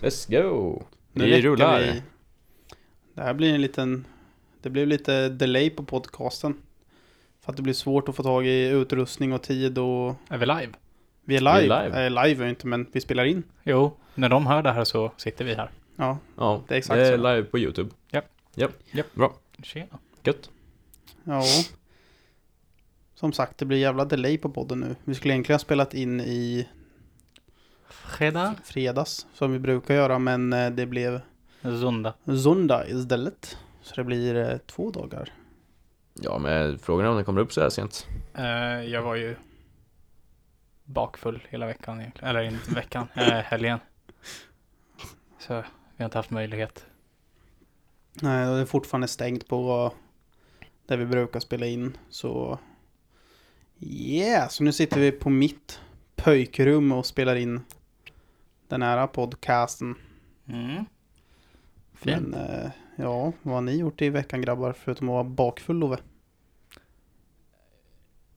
Let's go! Nu Vi läcker rullar! vi. Det här blir en liten... Det blev lite delay på podcasten. För att det blir svårt att få tag i utrustning och tid och... Är vi live? Vi är är live. live. Eh, live är vi inte, men vi spelar in. Jo, när de hör det här så sitter vi här. Ja, Ja, Det är exakt så. live på YouTube. Japp. Japp. Japp. Bra. Tjena. Gött. ja. Som sagt, det blir jävla delay på podden nu. Vi skulle egentligen ha spelat in i Fredag. fredags, som vi brukar göra, men eh, det blev Sunda. söndag istället. Så det blir eh, två dagar. Ja, men frågan är om den kommer upp så här sent. Eh, jag var ju bakfull hela veckan egentligen. Eller inte veckan, eh, helgen. Så vi har inte haft möjlighet. Nej, och det är fortfarande stängt på där vi brukar spela in. Så yeah, så nu sitter vi på mitt pöjkrum och spelar in den här podcasten. Mm. Men eh, ja, vad har ni gjort i veckan grabbar? Förutom att vara bakfull Love?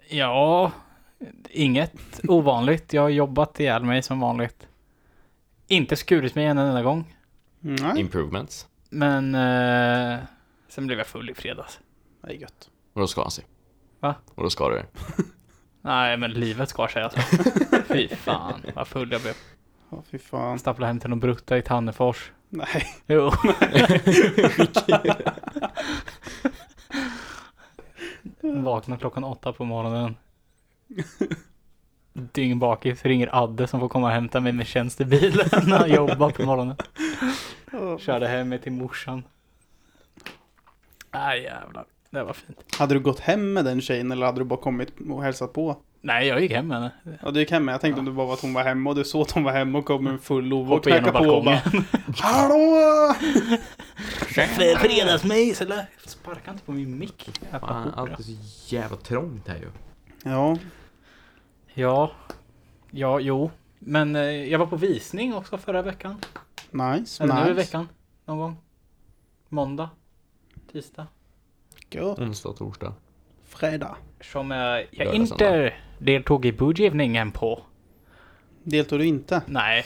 Ja, inget ovanligt. Jag har jobbat ihjäl mig som vanligt. Inte skurit mig en enda gång. Nej, Improvements. Men eh, sen blev jag full i fredags. det är gött. Och då ska han sig. Va? Och då ska det. Nej, men livet skar sig alltså. Fy fan, vad full jag blev. Ja, fy fan. Stappla hem till någon brutta i Tannefors. Nej, Jo. Vaknar klockan åtta på morgonen. Dyngbakis ringer Adde som får komma och hämta mig med tjänstebilen när han jobbar på morgonen. Körde hem mig till morsan. Nej Ah, jävlar, det var fint. hade du gått hem med den tjejen eller hade du bara kommit och hälsat på? Nej, jag gick hem med henne. Ja, du gick hem med. Jag tänkte om det bara var att hon var hemma och du såg att hon var hemma och kom med en full Love och Hoppade genom knackade på och bara Hallå! Fredagsmys eller? Sparka inte på min mick. jävla Fan, alltså. hora. allt är så jävla trångt här ju. Ja, Ja, ja, jo. Men eh, jag var på visning också förra veckan. nice, Eller nice. nu i veckan. Någon gång. Måndag. Tisdag. Gött. Onsdag, torsdag. Fredag. Som eh, jag Lördag, inte söndag. deltog i budgivningen på. Deltog du inte? Nej.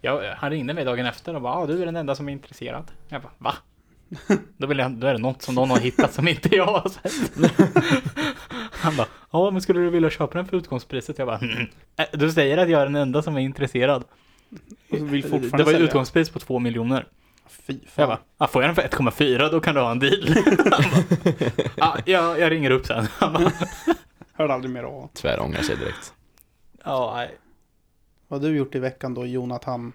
Jag, han ringde mig dagen efter och bara ah, du är den enda som är intresserad. Jag bara va? då, vill jag, då är det något som någon har hittat som inte jag har sett. han bara ja men skulle du vilja köpa den för utgångspriset? Jag bara "Mm." Äh, du säger att jag är den enda som är intresserad. Och så vill fortfarande det var ju sälja. utgångspris på två miljoner. Fy Jag fan. bara, ah, får jag den för 1,4 då kan du ha en deal. Han bara, ah, jag, jag ringer upp sen. Han bara, Hörde aldrig mer av honom. Tvärångar sig direkt. ja, nej. Vad har du gjort i veckan då, Mm. Jonathan?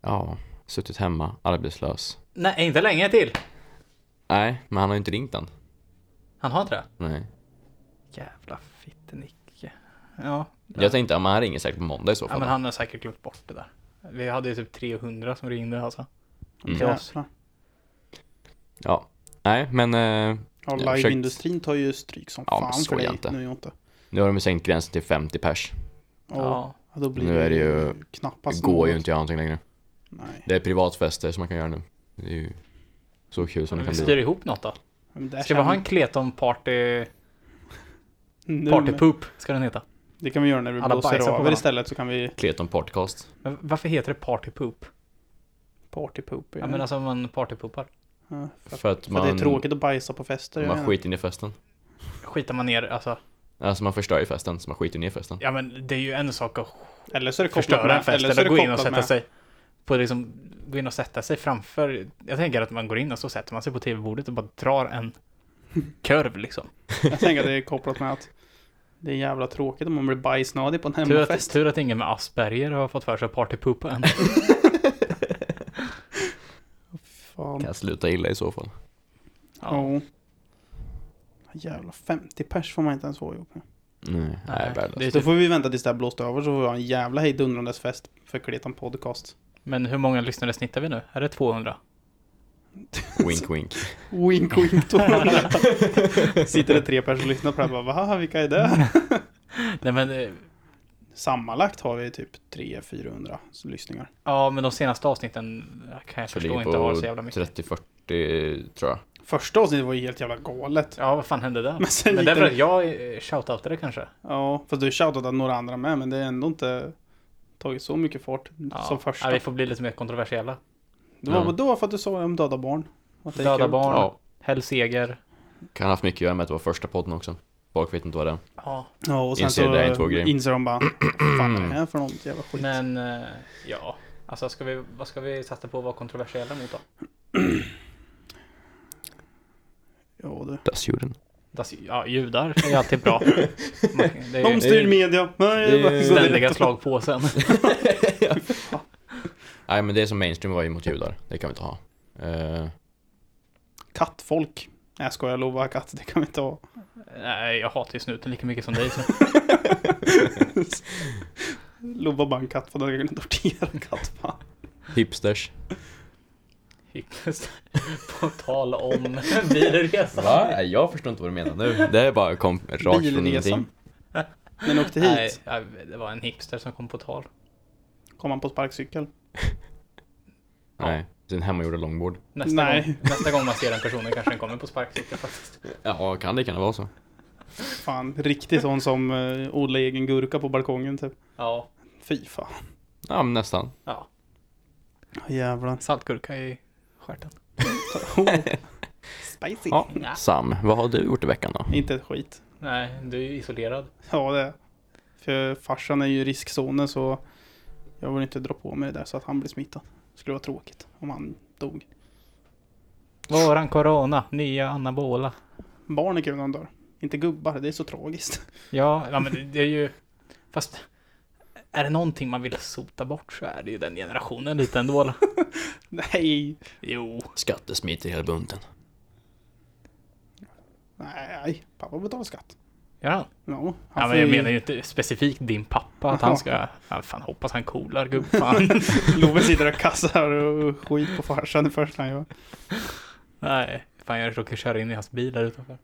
Ja, suttit hemma, arbetslös. nej, inte länge till. Nej, men han har ju inte ringt än. Han har inte det? Nej. Jävla fittenicke. Ja, Jag tänkte, ja, men han ringer säkert på måndag i så ja, fall. men han har säkert glömt bort det där. Vi hade ju typ 300 som ringde alltså. Mm. Till oss. Jävlar. Ja. Nej, men eh, Ja, Jag har liveindustrin tar ju stryk som Ja, men fan så för dig. jämte. Nu är jag inte. nu har de ju sänkt gränsen till 50 pers. Ja, Ja. då blir Nu är det ju- knappast det går något. ju inte att göra någonting längre. Nej. Det är privatfester som man kan göra nu. Det är ju så kul som det Men vi kan bli. styr ihop något då. Men där Ska vi ha en känner- kleton party, nu party med- poop ska den heta. Det kan vi göra när vi Alla blåser bajsar på över varandra. istället så kan vi Kleton podcast. Men varför heter det party poop? partypoopa. Ja, men alltså man party poopar. ja, för, att, För att för att man, det är tråkigt att bajsa på fester. jag man menar. skiter ner festen. Skitar man ner, alltså. Alltså man förstör ju festen, så man skiter ner festen. Ja men det är ju en sak att Eller så är det kopplat förstöra en med. fest Eller så är eller det gå in och kopplat sätta med. sig på liksom, gå in och sätta sig framför. Jag tänker att man går in och så sätter man sig på tv-bordet och bara drar en kurv liksom. Jag tänker att det är kopplat med att det är jävla tråkigt om man blir bajsnödig på en Tur att, hemmafest. tur att ingen med Asperger har fått för sig att partypoopa än. Fan. Kan sluta illa i så fall. Ja. Ja. Jävla 50 pers får man inte ens vara ihop med. Nej, nej det är värdelöst. Så typ, får vi vänta tills det här blåst över så får vi ha en jävla hejdundrandes fest för Kletan Podcast. men hur många lyssnare snittar vi nu? Är det 200? Wink wink. Wink wink då. Sitter det tre personer och lyssnar på det här och bara "Vaha, vilka är det? Nej men, eh, Sammanlagt har vi typ 300-400 lyssningar. ja men de senaste avsnitten kan jag Så det förstå ligger inte har så på jävla mycket. 30-40 tror jag. Första avsnittet var ju helt jävla galet. Ja vad fan hände där? Men sen Men gick det är för det... att jag eh, shoutoutade kanske. Ja, fast du shoutoutade några andra med men det är ändå inte tagit så mycket fart Ja. som första. Ja, vi får bli lite mer kontroversiella. Det var Ja. väl då för att du sa om döda barn. Att det är Döda kul. barn, Ja. Hells Eger. Kan ha haft mycket att göra med att det var första podden också. Folk vet inte vad det är. Ja, Ja, och sen Inser det är en så två grej. inser de bara, fan är det här för något jävla skit? men eh, ja. Alltså ska vi, vad ska vi satsa på att vara kontroversiella mot då? Ja, du. Dödsdjuren. Das, ja, judar är ju alltid bra. Man- Det är De ju styr media. Nej, det är bara- så direkt. ständiga slagpåsen. Nej men det som mainstream var ju mot judar. Det kan vi inte ha. Eh, Kattfolk. Nej, jag skojar. Lova katt, det kan vi inte ha. Nej, jag hatar ju snuten lika mycket som dig. Så. Lova bara en katt, för den kan inte tortera en katt. Fan. hipsters. Hittills. På tal om bilresan. Nej, Jag förstår inte vad du menar nu. Det är bara kom rakt från ingenting. Bilresan. När ni åkte hit Nej, nej, det var en hipster som kom på tal. kom han på sparkcykel. Nej. Sin hemmagjorda långbord. Nästa, Nej. Gång, nästa gång man ser den personen kanske den kommer på sparkcykel faktiskt. Ja, kan det kan det vara så. Fan, riktigt sån som eh, odlar egen gurka på balkongen typ. Ja, Fy fan. Ja, men nästan. ja. Jävlar. Saltgurka i stjärten. Oh. Spicy. Ja. Ja. Sam, vad har du gjort i veckan då? Inte ett skit. Nej, du är ju isolerad. Ja, det är. För farsan är ju i riskzonen så jag vill inte dra på mig det där så att han blir smittad. Skulle vara tråkigt om han dog. Våran corona, nya anabola. Barn är kul när de dör. Inte gubbar, det är så tragiskt. Ja, ja men det, det är ju... Fast... Är det någonting man vill sota bort så är det ju den generationen lite ändå. då. Nej, Jo. Skattesmit i hela bunten. nej, pappa betalar skatt. Gör han? Ja, han Ja, får men jag ju- menar ju inte specifikt din pappa att han ska... Alltså, Ja, fan, hoppas han coolar gubbfan. Love sitter och kassar och skit på farsan det första han gör. Nej, fan jag råkade köra in i hans bil där utanför.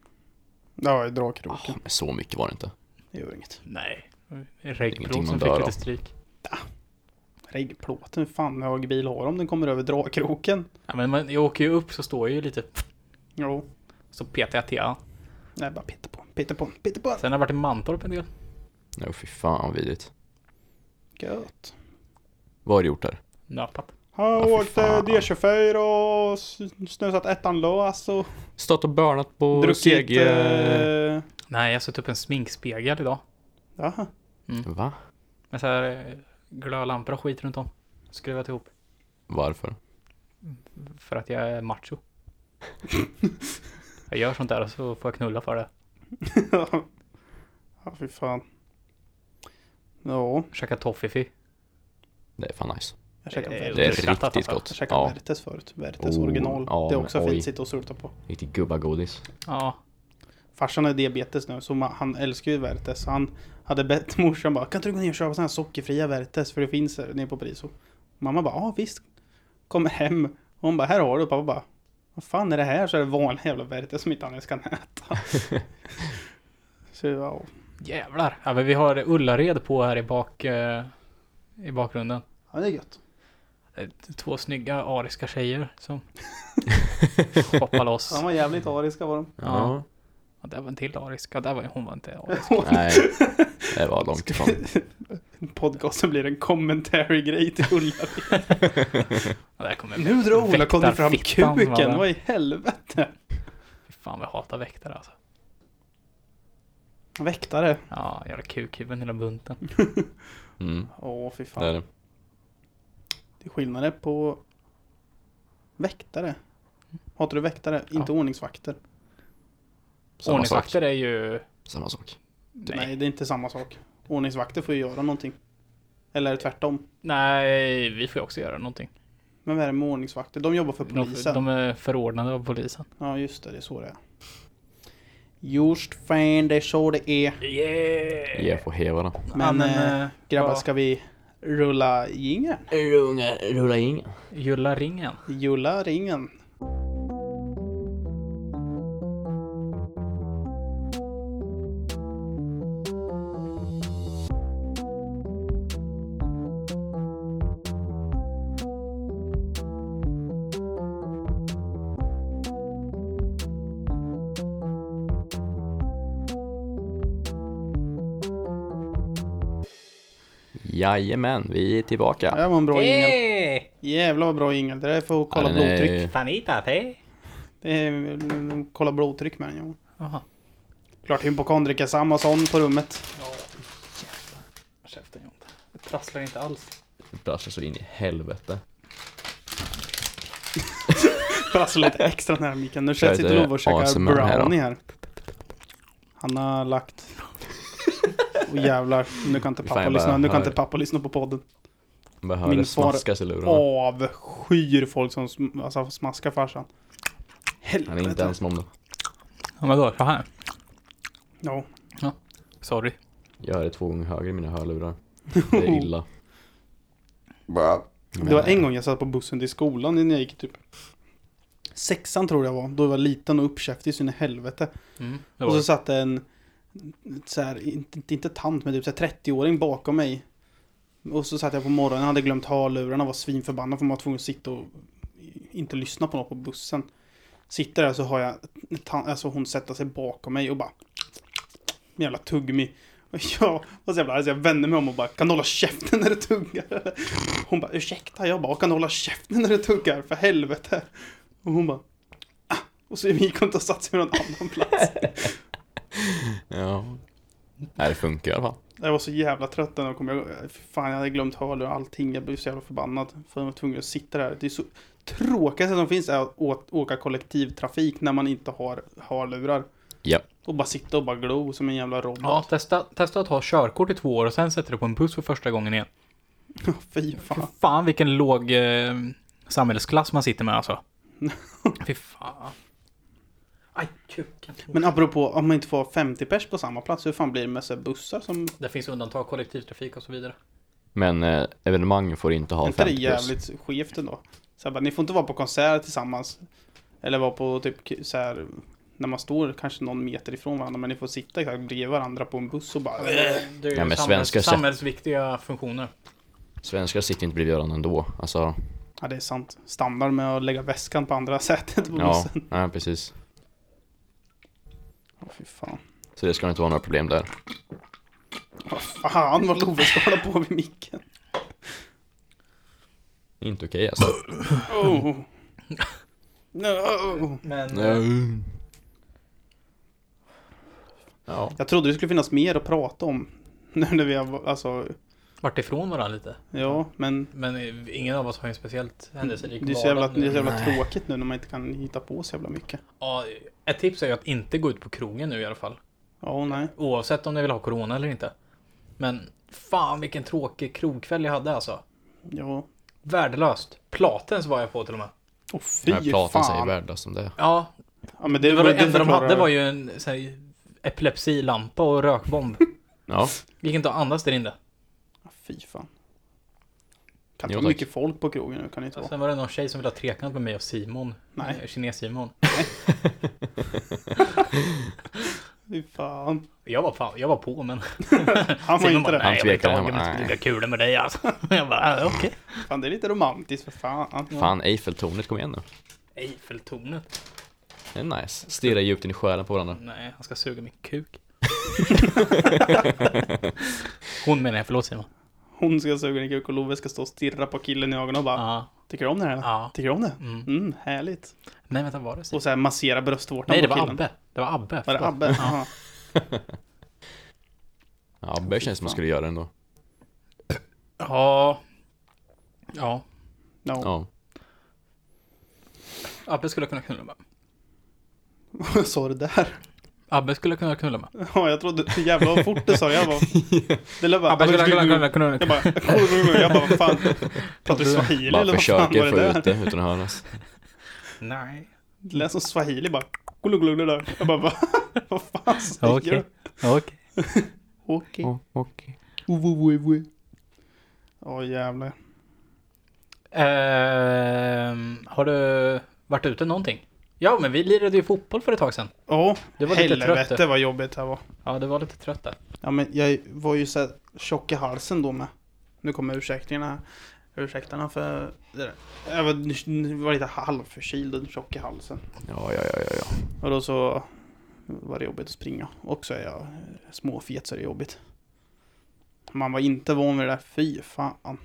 Ja, i Ah, drakroken. men så mycket var det inte. Det gör inget. Nej. Ingenting man Reggplåten dör fick av. lite stryk. Reggplåten, hur fan hög bil har om den kommer över drakroken? Ja, men man, jag åker ju upp så står jag ju lite... Jo, Så petar jag till han. nej bara pitta på, pitta på, pitta på. Sen har jag varit i Mantorp en del. Nej, fy fan vad vidrigt. Gött. Vad har du gjort där? Nöpat. Han Ja, fy åkte fan. D24 och s- snusat ettan lös och Stått och börnat på druckit... CG... Eh, Nej, jag har satt upp en sminkspegel idag. Mm. jaha. Va? Med så här eh, glödlampor och skit runt om. Skruvat ihop. Varför? För att jag är macho. jag gör sånt där och så får jag knulla för det. ja, fy fan. Ja, Käka toffifi. Det är fan nice. jag käkade Eh, Vertes. Det är Underskattat, riktigt alltså. gott. Jag käkade Ja, Vertes förut. Vertes Oh, original. ja, det är men också oj. fint, sitta och surta på. riktigt gubbagodis. Ja. Farsan har diabetes nu, så ma- han älskar ju Vertes. Så han hade bett morsan bara, kan inte du gå ner och köpa sådana här sockerfria Vertes? För det finns här nere på Priso. Mamma bara, ja visst. Kommer hem. Och hon bara, här har du. Pappa bara, vad fan är det här? Så är det vanliga jävla Vertes som inte han ens kan äta. så ja, Jävlar. Ja, men vi har Ullared på här i bak... Eh, I bakgrunden. ja, det är gött. Eh, Två snygga ariska tjejer som hoppar loss. Han var jävligt ariska var de. Ja. Ja, där var en till arisk. Ja, där var, hon var inte arisk. Nej, det var långt ifrån. Podcasten blir en commentary-grej till Ulla. Ja, där kommer nu drar Ola Conny fram väktarfittan, va, kuken, där? vad i helvete? Fy fan, vi hatar väktare alltså. Väktare. Ja, jävla kukhuvuden i hela bunten. Mm, Åh, fy fan. det är det. Det är skillnader på väktare. Hatar du väktare? Ja. Inte ordningsvakter. Samma sak. Ordningsvakter är ju... Samma sak. Nej. Nej. det är inte samma sak. Ordningsvakter får ju göra någonting. Eller är det tvärtom? Nej, vi får ju också göra någonting. Men vad är det med ordningsvakter? De jobbar för De, polisen. de är förordnade av polisen. Ja, just det. Det är så det är. Just fan, det är så det är. Yeah! Ge på hevarna. Men, eh, Grabbar, ja. ska vi rulla jingeln? Runga, rulla in. Julla ringen. Julla ringen. Jajamän, vi är tillbaka. Det var en bra jingel. Hey! Jävlar vad bra jingel. Det där är för att kolla Ja, den är- blodtryck. Fanita, hej! Det är, kolla blodtryck med den. ja. Jaha. Klart hypokondrika samma sån på rummet. Käften Jonte. Det prasslar inte alls. Det prasslar så in i helvete. Prassla alltså lite extra nära micken. Nu Kör sitter lite Love och käkar ASMR här då. brownie här. Han har lagt... Och jävlar, nu kan inte Fan, pappa jag lyssna, bara nu kan hör- inte pappa lyssna på podden. Man hör Min det far- smaskas i lurarna. Avskyr folk som sm- alltså, smaskar farsan. Han är inte Helvete. ensam om det. Ja men då, så här. Ja. Sorry. Jag hör det två gånger högre i mina hörlurar. Det är illa. Det var en gång jag satt på bussen till skolan när jag gick i typ sexan tror jag var. Då jag var liten och uppkäftig så in i helvete. Mm, det Och var så det. satt en, så här, inte, inte tant, men typ så här 30-åring bakom mig. Och så satt jag på morgonen, hade glömt hörlurarna, var svinförbannad för man var tvungen att sitta och inte lyssna på något på bussen. Sitter där så har jag tan- alltså hon sätta sig bakom mig och bara med jävla tuggummi. Och jag var så jävla arg så jag vände mig om och bara kan du hålla käften när du tuggar? eller?" Hon bara ursäkta? Jag bara kan du hålla käften när du tuggar? För helvete. Och hon bara "Ah." och så gick hon och satte sig på någon annan plats. Ja. Nej, det funkar i alla fall. Jag var så jävla trött när jag kom. Jag, fy fan, jag hade glömt hörlurar och allting. Jag blev så jävla förbannad. För jag var tvungen att sitta där. Det är så tråkigaste som finns är att å- åka kollektivtrafik när man inte har hörlurar. Ja. Och bara sitta och bara glo som en jävla robot. Ja, testa, testa att ha körkort i två år och sen sätter du på en buss för första gången igen. Fy fan. Fan vilken låg eh, samhällsklass man sitter med alltså. Fy fan. Aj, kuken. Men apropå om man inte får 50 pers på samma plats. Hur fan blir det med så här bussar som... Det finns undantag, kollektivtrafik och så vidare. Men eh, evenemang får inte Är ha inte det 50 plus. jävligt skevt ändå? Så här, bara, ni får inte vara på konsert tillsammans. Eller vara på typ k- så här... När man står kanske någon meter ifrån varandra. Men ni får sitta exakt bredvid varandra på en buss och bara... Det är Ja, men ju samhälls, svenskar- samhällsviktiga funktioner. Svenskar sitter inte bredvid varandra ändå. Alltså, Ja, det är sant. Standard med att lägga väskan på andra sätet på ja. bussen. Nej, precis. Ja. fy fan. Så det ska inte vara några problem där. Vad fan vad Love ska hålla på med micken. Inte okej alltså. Oh. No. Men... Nej. Ja. Jag trodde det skulle finnas mer att prata om. Nu när vi har, alltså, Vart ifrån varandra lite. ja, men Men eh, ingen av oss har ju en speciellt händelserik det är så vardag jävla, nu. det är så jävla tråkigt nu när man inte kan hitta på så jävla mycket. Ja, ett tips är ju att inte gå ut på krogen nu i alla fall. Ja, och nej. Oavsett om ni vill ha corona eller inte. Men fan vilken tråkig krogkväll jag hade alltså. Ja. Värdelöst. Platens var jag på till och med. Åh fy Den här platen säger fan. världast om det. Ja, Ja, men det, var det enda de förklarar- hade var ju en sån här, epilepsilampa och rökbomb. Ja. Gick inte att andas där inne. Ja, Fy fan. Kan Jo, inte tack. vara mycket folk på krogen nu, kan det inte vara. Sen var det någon tjej som ville ha trekant med mig och Simon. Nej. Eh, Kines-Simon. Fy fan. Jag var, fan, jag var på men... Han var Simon inte bara, det. Han nej jag vill inte tvekade, ha han det, bara, men nej. det är kul med dig alltså. Jag bara, äh, okej. Fan, det är lite romantiskt för fan. Fan, Eiffeltornet, kom igen nu. Eiffeltornet. Det är nice. Stirra djupt in i själen på varandra. Nej, han ska suga min kuk. Hon menar jag, förlåt Simon. Hon ska suga din kuk och Love ska stå och stirra på killen i ögonen och bara Ja. Tycker du om det här? Ja. Tycker du om det? Mm. Mm, härligt. Nej, vänta, var det Simon? Och så här massera bröstvårtan Nej, det på var killen. Abbe. Det var Abbe. Var det förlåt. Abbe? Jaha. Ja, det känns som man skulle göra det ändå. Ja. Ja. No. Ja. Abbe skulle jag kunna knulla med. Vad sa du där? Abbe skulle jag kunna knulla med. Ja, jag trodde så jävla vad fort det sa jag. jag bara, det lät bara... Abbe skulle jag kunna knulla knulla- Jag bara... Jag bara, vad fan. Pratar du swahili Bara eller vad fan var försöker det få där? ut det utan att höras. Nej. Det lät som swahili bara. Guluguluglu där. Jag bara, va? Vad fan Ja, säger Okej. du? Ja, Okej. Okej. Okej. Åh jävlar. Ehm, Har du varit ute någonting? Ja, men vi lirade ju fotboll för ett tag sedan. Ja, Du var lite trött, helvete du. vad jobbigt det här var. Ja, du var lite trött där. Ja men jag var ju så här tjock i halsen då med. Nu kommer ursäkterna här. Ursäkterna för det där. Jag var, var lite halvförkyld och tjock i halsen. Ja, ja, ja, ja, ja. Och då så var det jobbigt att springa. Och så är jag eh, småfet så är det jobbigt. Man var inte van vid det där, fy fan.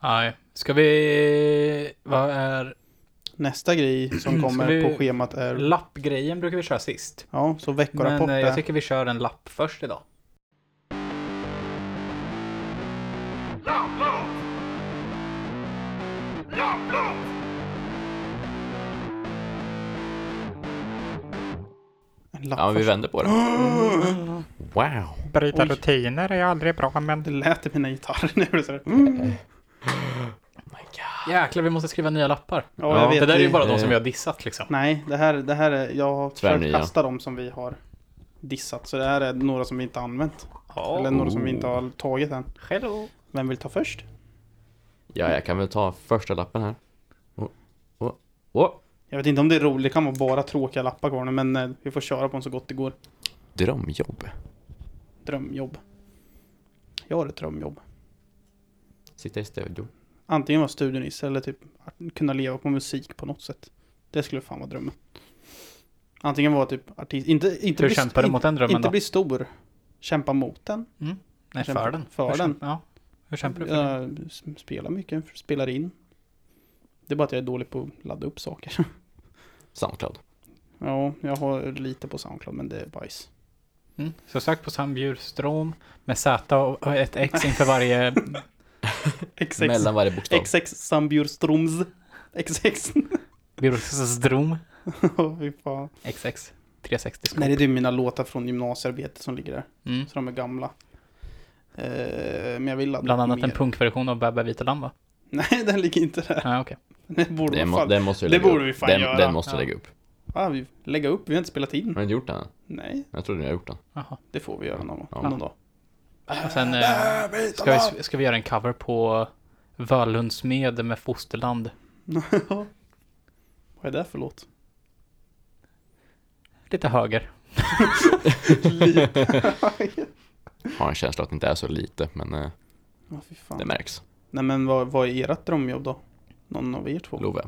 Nej. Ska vi... Vad är... Nästa grej som Ska kommer vi- på schemat är, Lappgrejen brukar vi köra sist. ja, så Men eh, veckorapporter. jag tycker vi kör en lapp först idag. En lapp Ja, vi först. vänder på det. Wow. Bryta Oj. rutiner är aldrig bra, men... Det lät i mina gitarrer när du sa det. Mm. Jäklar, vi måste skriva nya lappar. Ja, jag Ja, vet. Det där är ju vi- bara de Eh. som vi har dissat liksom. Nej, det här, det här är, jag har försökt Tvärnya. kasta dem som vi har dissat. Så det här är några som vi inte har använt. Eller några som vi inte har tagit än. Hello. Vem vill ta först? Ja, jag kan väl ta första lappen här. Åh, åh, åh. Jag vet inte om det är roligt, det kan vara bara tråkiga lappar kvar nu, men eh, vi får köra på dem så gott det går. Drömjobb. Drömjobb. Jag har ett drömjobb. Sitta i studio. Antingen vara studionisse eller typ att kunna leva på musik på något sätt. Det skulle fan vara drömmen. Antingen vara typ artist, inte, inte, Hur bli, kämpar du mot den drömmen inte då? bli stor. Kämpa mot den. Nej, kämpa för den. för Hur den. kämp- Ja. Hur kämpar du för den? Jag s- spelar mycket, spelar in. Det är bara att jag är dålig på att ladda upp saker. Soundcloud. ja, jag har lite på Soundcloud men det är bajs. Mm. Så sök på Sam Bjurström med Z och och ett X inför varje... XX. Mellan varje bokstav. XX Sambjurstroms. XX. Bjurström. Åh, fy fan. XX. 360 Nej, det är typ mina låtar från gymnasiearbetet som ligger där. mm. Så de är gamla. Eh, men jag vill ladda Bland upp annat en mer. punkversion av Bäbbe vita lamm va? Nej, den ligger inte där. Ja, okej. Den borde Den, man må, fan... den måste vi Det lägga borde upp. vi fan den, göra. den måste Ja. vi lägga upp. Ah, vi lägga upp, vi har inte spelat in. Har du inte gjort den? än? Nej, Jag trodde ni hade gjort den. Jaha. det får vi göra någon, Ja. någon dag. Och sen eh, ska, vi, ska vi göra en cover på Völundsmed med Fosterland. Vad är det för låt? Lite höger. Har en känsla att det inte är så lite, men eh, Ja, Ah, fy fan. det märks. Nej men vad, vad är ert drömjobb då? Någon av er två? Love.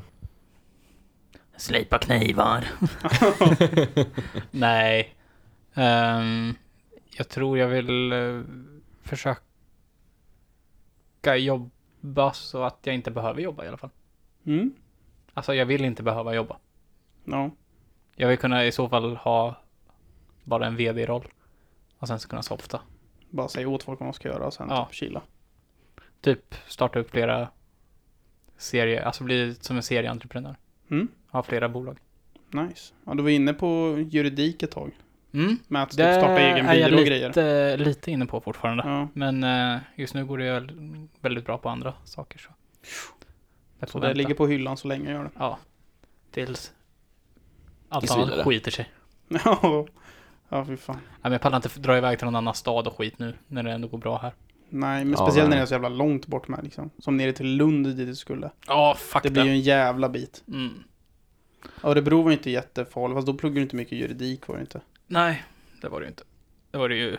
Slipa knivar. Nej. Ehm, jag tror jag vill eh, försöka jobba så att jag inte behöver jobba i alla fall. Mm? Alltså jag vill inte behöva jobba. Ja. Jag vill kunna i så fall ha bara en vd-roll. Och sen så kunna softa. Bara säga åt folk vad de ska göra och sen Ja. typ chilla. Typ starta upp flera serier, alltså bli som en serieentreprenör. Mm? Ha flera bolag. Nice. Ja, du var inne på juridik ett tag. Mm. Med att typ starta egen är jag byrå och grejer. lite, lite inne på fortfarande. Ja. Men eh, just nu går det ju väldigt bra på andra saker. Så, jag Så får det vänta. ligger på hyllan så länge gör det. Ja. Tills allt Tills annat vidare. skiter sig. Ja. ja, fy fan. Nej, men jag pallar inte f- dra iväg till någon annan stad och skit nu, när det ändå går bra här. Nej, men Ja, speciellt när nej. det är så jävla långt bort med liksom. Som nere till Lund dit du skulle. Ja, fuck Det blir ju en jävla bit. mm. Örebro var ju inte jättefarligt, fast då pluggade du inte mycket juridik var det inte. Nej, det var det ju inte. Det var det ju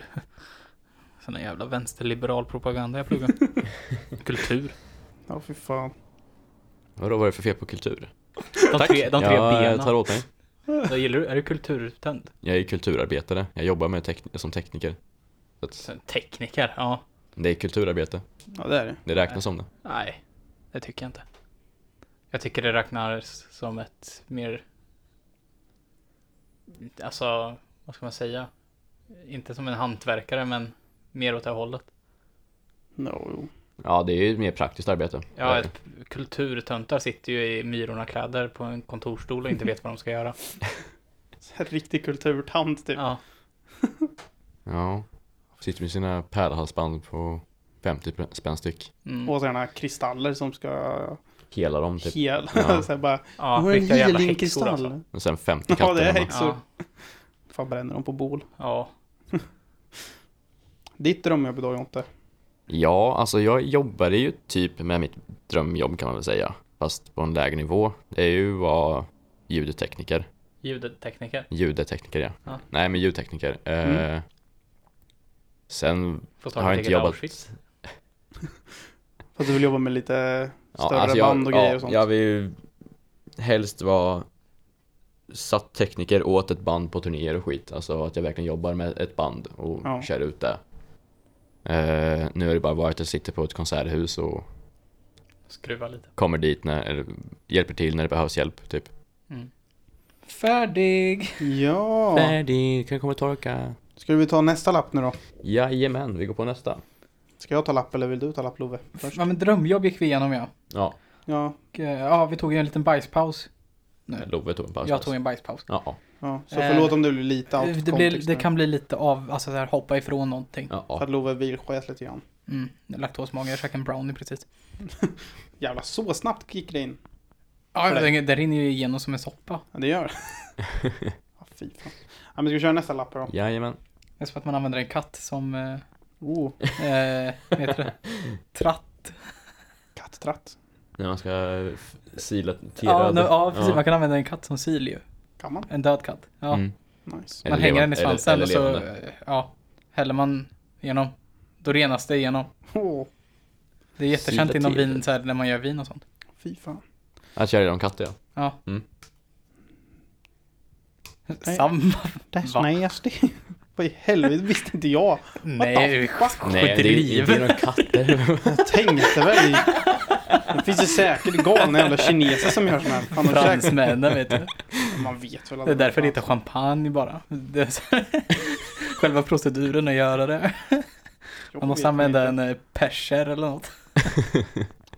sån där jävla vänsterliberal propaganda jag pluggade. Kultur. Ja, fy fan. Vadå, vad är det för fel på kultur? De tre, de tre jag benen. tar åt mig. Då gillar du, är du kulturtänd? Jag är kulturarbetare. Jag jobbar med tekn- som tekniker. Så att Sen Tekniker? Ja. det är kulturarbete. Ja, det är det. Det räknas som det. Nej, det tycker jag inte. Jag tycker det räknas som ett mer... Alltså, vad ska man säga? Inte som en hantverkare, men mer åt det här hållet. No, jo. Ja, det är ju ett mer praktiskt arbete. Ja, Det är ett kulturtöntar sitter ju i myrorna kläder på en kontorsstol och inte vet vad de ska göra. Riktig kulturtant typ. Ja, det. ja. Sitter med sina pärlhalsband på 50 pr- spänn styck. mm. Och sådana kristaller som ska Hela dem typ. hela. Ja. så här bara, ja "Åh, en riktiga jävla häxor healingkristall." alltså. Och sen 50 Ja, katter det är hemma. häxor. Ja, Fan bränner de på bål. ja. Ditt drömjobb idag Jonte. Ja, alltså jag jobbade ju typ med mitt drömjobb kan man väl säga. Fast på en lägre nivå. Det är ju vad ljudtekniker. ljudtekniker. Ljudtekniker ja. Ja. Nej, men ljudtekniker. Mm. Eh, sen Får starta har jag inte eget jobbat... Auschwitz. Fast du vill jobba med lite Ja, större alltså jag- band och grejer och sånt. Jag vill ju helst vara satt tekniker åt ett band på turnéer och skit. Alltså att jag verkligen jobbar med ett band och Ja. kör ut det. Eh, nu har det bara varit att sitta på ett konserthus och Skruva lite. kommer dit när, eller hjälper till när det behövs hjälp typ. Färdig! Ja. Färdig, kan komma torka. Ska vi ta nästa lapp nu då? Jajamän, vi går på nästa. Ska jag ta lapp eller vill du ta lapp Love? Först. Ja, men drömjobb gick vi igenom ja. Ja, Ja, Och, eh, ja, vi tog ju en liten bajspaus. Nej. Love tog en paus. Jag tog en bajspaus. Ja, ja. Så Eh, förlåt om det blir lite out of Det, blir, context det nu. kan bli lite av, alltså så här, hoppa ifrån någonting. ja, För ja. att Love vilsket lite grann. Mm, laktosmage, jag käkade en brownie precis. Jävlar, så snabbt gick det in. Ja, För den, den rinner ju igenom som en soppa. Ja, det gör det. ja, fy fan. Ja, men ska vi köra nästa lapp då? Jajamän. Det är som att man använder en katt som, eh, Oh, eh, vad heter det? Tratt. katttratt. När man ska f- sila Ja, T-röd. nu, ja, precis. Man kan använda en katt som sil ju. Kan man? En död katt. Ja. Mm. Nice. Man Eller hänger levande- den i svansen eller- eller och så eh, ja, häller man igenom. Då renas det igenom. Åh, Det är jättekänt Sila inom till. vin så här, när man gör vin och sånt. fy fan. Att köra de katter ja. Ja. Mm. Nej. Samma. That's Va? nasty. Vad i helvete visste inte jag. Nej, Nej, skit i det är inte livet. några katter. Jag tänkte väl. i- Det finns ju säkert galna jävla kineser som gör sådana här. Fan, de käkar- Fransmännen vet du. Man vet väl Det är aldrig. därför det heter champagne bara. Det är så- Själva proceduren att göra det. Jag Man måste vet använda inte. en eh, perser eller något.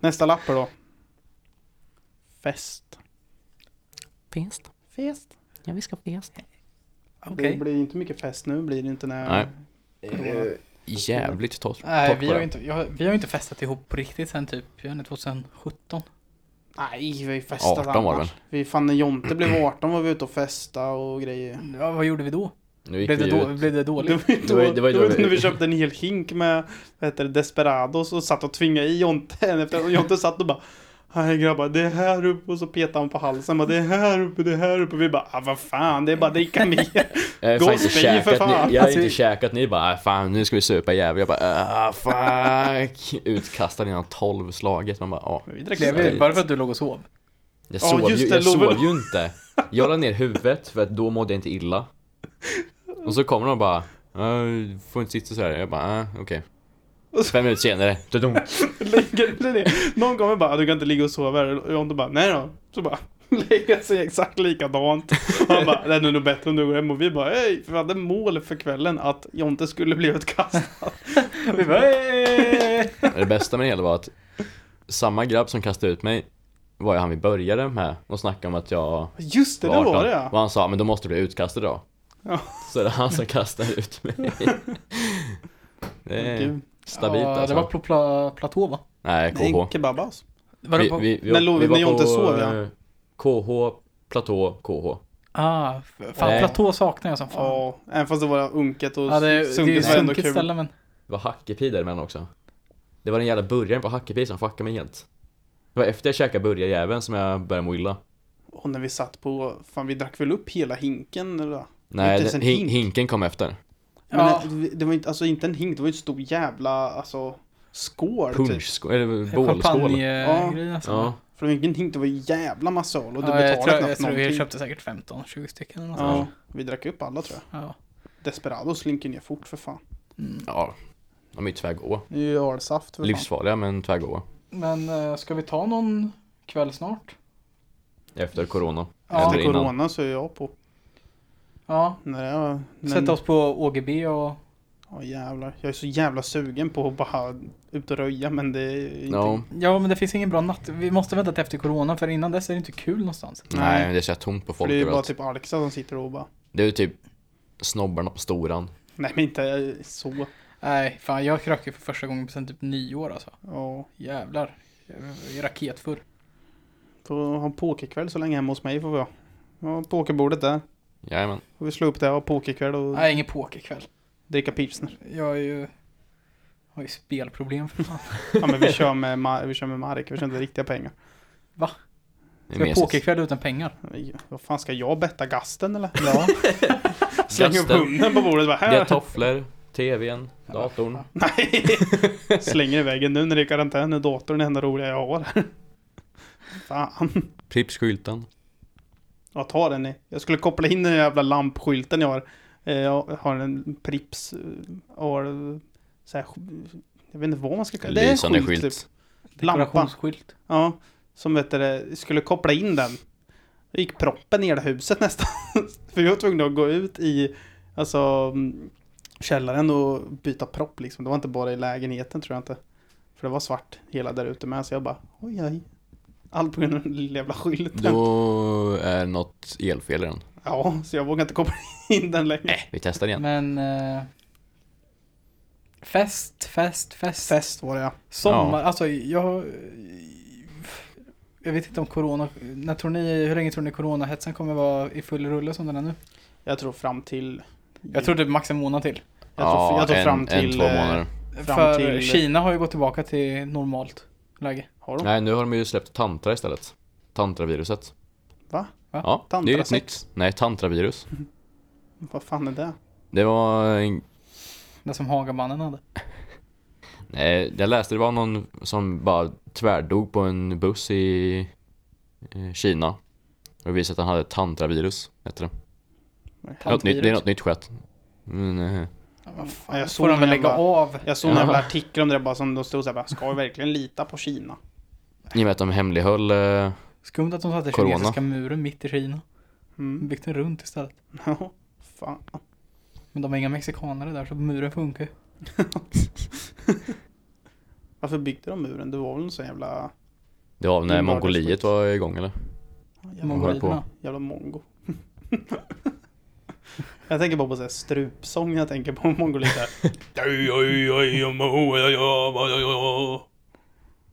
Nästa lapp då. Fest. Fest. Fest. Ja, vi ska fest. Det Okej. blir inte mycket fest nu blir det inte när... Nej. Eh, Jävligt torrt. Nej, torrt vi på har, ju det. inte, jag, vi har ju inte festat ihop på riktigt sen typ, jag vet inte, 2017. Nej, vi har ju festat 18 var det annars. Vi fan när Jonte blev 18 var vi ute och festa och grejer. Ja, vad gjorde vi då? Nu gick Blev det, vi då, ut. blev det Det dåligt? var ju Det då, var ju- det var ju det var då ju när vi- vi köpte en hel hink med vad heter det, Desperados och satt och tvingade i Jonte en efter och Jonte satt och bara Nej grabbar, det är här uppe och så petade han på halsen bara, det är här uppe, det är här uppe. Vi bara, ah, vad fan, det är bara att dricka mer. Jag har fan inte Gospel, käkat, för fan. ni, jag har Alltså, inte käkat, ni bara "Äh, fan nu ska vi supa jävligt. Jag bara "Ah, fuck. Utkastad innan tolv slaget. Man bara ja. Men Vi drack Blev sprit. vi, bara för att du låg och sov? Jag Ja, sov, just ju, det, jag Love. sov ju inte. Jag la ner huvudet för att då mådde jag inte illa. Och så kommer de och bara "Äh, du får inte sitta så här. Jag bara äh, okej. Och så- Fem minuter senare. tudung. Lägger du det? Någon kommer bara, "Ah, du kan inte ligga och sova här. Och Jonte bara, nej då. Så bara, lägger sig exakt likadant. Och han bara, det är nog bättre om du går hem. Och vi bara, hej, för vi hade mål för kvällen att Jonte skulle bli utkastad. Vi bara, "Ey!" Det bästa med det hela var att samma grabb som kastade ut mig var ju han vi började med och snackade om att jag Just det, det var det ja. Och han sa, men då måste du bli utkastad då. Ja. Så det är han som kastar ut mig. Det är Gud. stabilt ja, alltså. Det var på pla, platå va? Nej, Nej, KH. kebabas. Var det på? När Love- var när Jonte på, sov, ja. eh, KH, platå, KH. Ah, f- fan Nej. platå saknar jag som fan. Ja, även fast det var unket och Ja, det, det är ju sunket var ändå sunkigt kul. ställe men. Det var hackepi däremellan också. Det var den jävla burgaren på hackepi som fuckade mig helt. Det var efter jag käkade burgarjäveln som jag började må illa. Och när vi satt på, fan vi drack väl upp hela hinken eller? vad? Nej, ens den, en hin- hink. hinken kom efter. Men Ja. det, det var inte, alltså inte en hink, det var ju ett stor jävla, alltså skål typ. Punschskål, eller Eh, bålskål. Ja. Champagnegrejen alltså. Ja. För det var ingen hink, det var ju jävla massa öl och du Ja, betalade jag tror, jag knappt tror vi någonting. köpte säkert 15-20 stycken eller något. Ja. Ja, vi drack upp alla tror jag. Ja. Desperados slinker ner fort för fan. Mm. Ja, de är ju tvärgåa. Det är ju ölsaft för fan. Livsfarliga men tvärgåa. Men eh, ska vi ta någon kväll snart? Efter corona. Ja. Eller Efter innan. corona så är jag på. Ja. När jag, när, Sätta oss på OGB och... Ja jävlar. Jag är så jävla sugen på att bara ut och röja men det är inte... Ja. Ja men det finns ingen bra natt. Vi måste vänta till efter corona för innan dess är det inte kul någonstans. Nej, det är så här tomt på För folk det är ju bara överallt. typ Alexa som sitter och bara. Det är ju typ snobbarna på storan. Nej men inte så. Nej, fan jag krökade för första gången sedan typ nyår alltså. Ja. Jävlar. Jag är raketfull. Då har han pokerkväll så länge hemma hos mig får vi ha. Ja, pokerbordet där. Jajamän. Får vi slå upp det och ha pokerkväll och Nej, ingen pokerkväll. dricka pilsner. Jag är ju... Har ju spelproblem för fan. Ja men vi kör med, ma- vi kör med mark, vi kör inte riktiga pengar. Det är Ska jag mesigt. pokerkväll utan pengar? Nej, Vad fan ska jag betta gasten eller? Ja. Släng upp Gasten. hunden på bordet bara Det är här. tofflor, tvn, datorn. Nej! Slänger iväg den nu när det är karantän. Nu är datorn det enda roliga jag har. Fan. Prippsskylten. Ja, ta den ni. Jag skulle koppla in den jävla lampskylten jag har. Eh, Jag har en Prips eh, har så här, jag vet inte vad man ska kalla det. är en Lysande skylt. skylt. Typ. Lampa. Dekorationsskylt. Ja, som vet du, det, skulle koppla in den. Då gick proppen i hela huset nästan. För vi var tvungna att gå ut i alltså, mm, källaren och byta propp liksom. Det var inte bara i lägenheten tror jag inte. För det var svart hela där ute med. Så jag bara oj oj. Allt på grund av den lilla jävla skylten. Då är något elfel i den. Ja, så jag vågar inte koppla in den längre. Nej, vi testar igen. Men... eh, fest, fest, fest. Fest var det ja. Sommar, alltså jag... Jag vet inte om corona... När tror ni, hur länge tror ni coronahetsen kommer vara i full rulle som den är nu? Jag tror fram till... Jag tror typ max en månad till. jag tror, jag tror en, fram till... en, två eh, månader. Fram För till- Kina har ju gått tillbaka till normalt läge. Har de? Nej, nu har de ju släppt tantra istället. Tantraviruset. Va? Ja, det är ju ett Tantrasex? nytt. Nej, tantravirus. Vad fan är det? Det var en Det som Hagamannen hade. Nej, Eh, jag läste det var någon som bara tvärdog på en buss i eh, Kina. Och det visade att han hade tantravirus, heter det. Något nytt, det är något nytt skett. Men, eh, Ja, vad Ja, fan, jag såg Mm. får de väl den lägga bara. av? Jag såg en jävla Ja. artikel om det där bara som då stod såhär bara, ska vi verkligen lita på Kina? I och med att de hemlighöll... Eh, Skumt att de satte Corona. kinesiska muren mitt i Kina. De Mm. byggde den runt istället. Ja, fan. Men de har inga mexikanare där så muren funkar ju. Varför byggde de muren? Det var väl en sån jävla, det var när Inbördesskit. Mongoliet var igång eller? jävla, Mongol- Mongoliderna. jävla mongo. jag tänker bara på såhär strupsång jag tänker på mongoliter.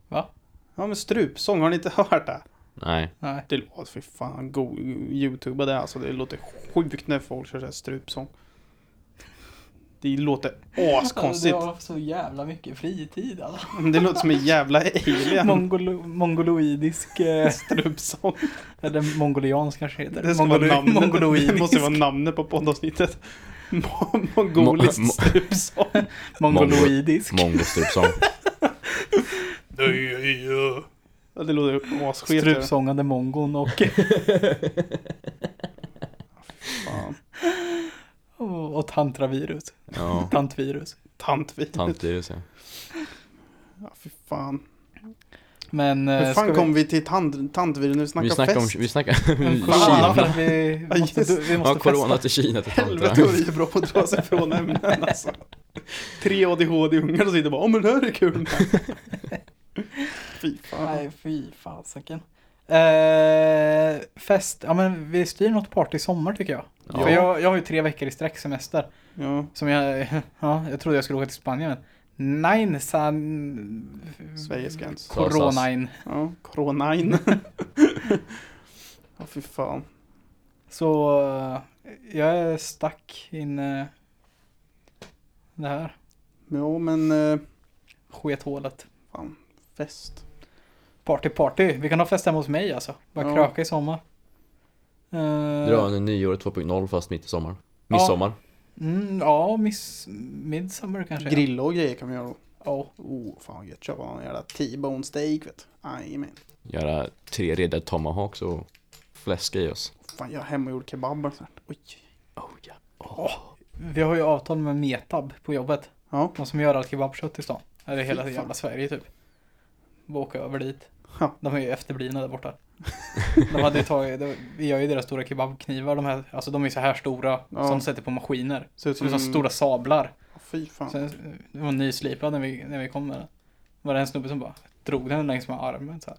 Va? Ja men strupsång, har ni inte hört det? Nej. Nej. Det låter, fy fan, go, youtube det alltså. Det låter sjukt när folk kör såhär strupsång. Det låter askonstigt. har så jävla mycket fritid alltså. Det låter som en jävla alien. Mongolo- mongoloidisk... eh, Strupsång. Eller mongoliansk kanske heter. Det ska vara namnet. Det Mongoloidisk. måste vara namnet på poddavsnittet. Mo- Mongolisk Mo- mo- strupsång. Mongoloidisk. Mongostrupsång. Ja, Det låter asskevt. gör det. Strupsångande mongon och, Fan. och, och tantravirus. Ja. Tantvirus. Tantvirus. Tantvirus ja. Ja, fy fan. Men... eh, Hur ska fan kom vi till tant, tantvirus när vi Vi snackar snackar om... fest? Vi snackar... Men Kina. Fan, för att vi Ja, måste, just. vi Ja, måste corona festa. till Kina till Helvete tantra. vad vi är bra på att dra sig från ämnen alltså. Tre ADHD-ungar som sitter bara, åh men det här är kul. Fy fan. Nej, fy fasiken. Eh, fest, ja men vi styr något party i sommar tycker jag. Ja. För jag, jag har ju tre veckor i sträck semester. Ja, Som jag, ja, jag trodde jag skulle åka till Spanien men nein, san... Sveriges Mm. gräns. Coronain. Ja, coronain. Ja, fy fan. Så eh, jag är stack inne det här Jo, men eh, skethålet. fan, fest. Party, party. Vi kan ha fest hemma hos mig alltså. Bara Ja. kröka i sommar. Eh, Dra en nyår 2.0 fast mitt i sommar. Midsommar. Mm, ja, miss, midsommar kanske. ja. Grilla och grejer kan vi göra då. Ja. Oh, fan gött. Köpa någon jävla T-bone steak vet du. Jajamän. Göra tre reda tomahawks och fläska i oss. Fan, jag har hemmagjord kebab och sånt. Oj. Oh ja. Vi har ju avtal med Metab på jobbet. Ja, De som gör all kebabkött i stan. Eller hela Fy fan. jävla Sverige typ. Bara åka över dit. Ja. De är ju efterblivna där borta. De hade ju tagit, de, vi gör ju deras stora kebabknivar. De här, alltså de är ju så här stora Ja. som de sätter på maskiner. ser ut Som mm. stora sablar. Fy fan. Sen, det var nyslipad när vi, när vi kom med den. Var det en snubbe som bara drog den längs med armen så här.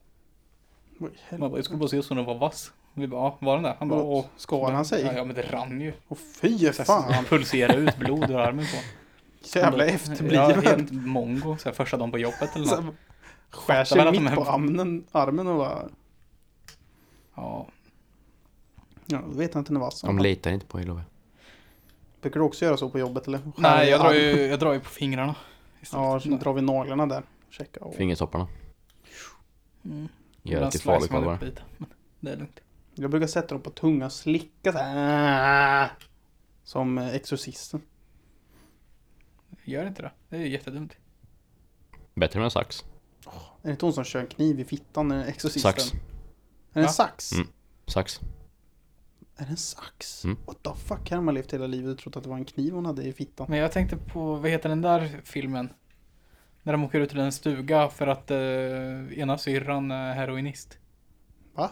Oj, Man bara, jag skulle bara se om den var vass. Vi bara, "Ja, var den där? Han bara, åh. helvete. Skar han Ja, sig? ja men det rann ju. Åh fy fan. Fan. Pulserade ut blod ur armen på Så jävla Ja, efterbliven. helt mongo. Så här, första dagen på jobbet eller något. Sen Skär Fattar sig väl att mitt de på är- armen, armen och bara... Ja. Ja, då vet jag inte när det var så. De litar inte på er Love. Brukar du också göra så på jobbet eller? Skär Nej, i jag drar, armen? ju, jag drar ju på fingrarna. Ja, så drar vi naglarna där. Checka av. Fingertopparna. Mm. Gör det Ibland till slags man falukorvar. upp lite, men Det är lugnt. Jag brukar sätta dem på tunga och slicka så här. Som eh, Exorcisten. Gör inte det. Det är ju jättedumt. Bättre med en sax. Är det inte hon som kör en kniv i fittan i Exorcisten? Sax. Är det en Va? sax? Mm. Sax. Är det en sax? Mm. What the fuck? Här har man levt hela livet och trott att det var en kniv hon hade i fittan. Men jag tänkte på, vad heter den där filmen? När de åker ut till en stuga för att eh, ena syrran är heroinist. Va?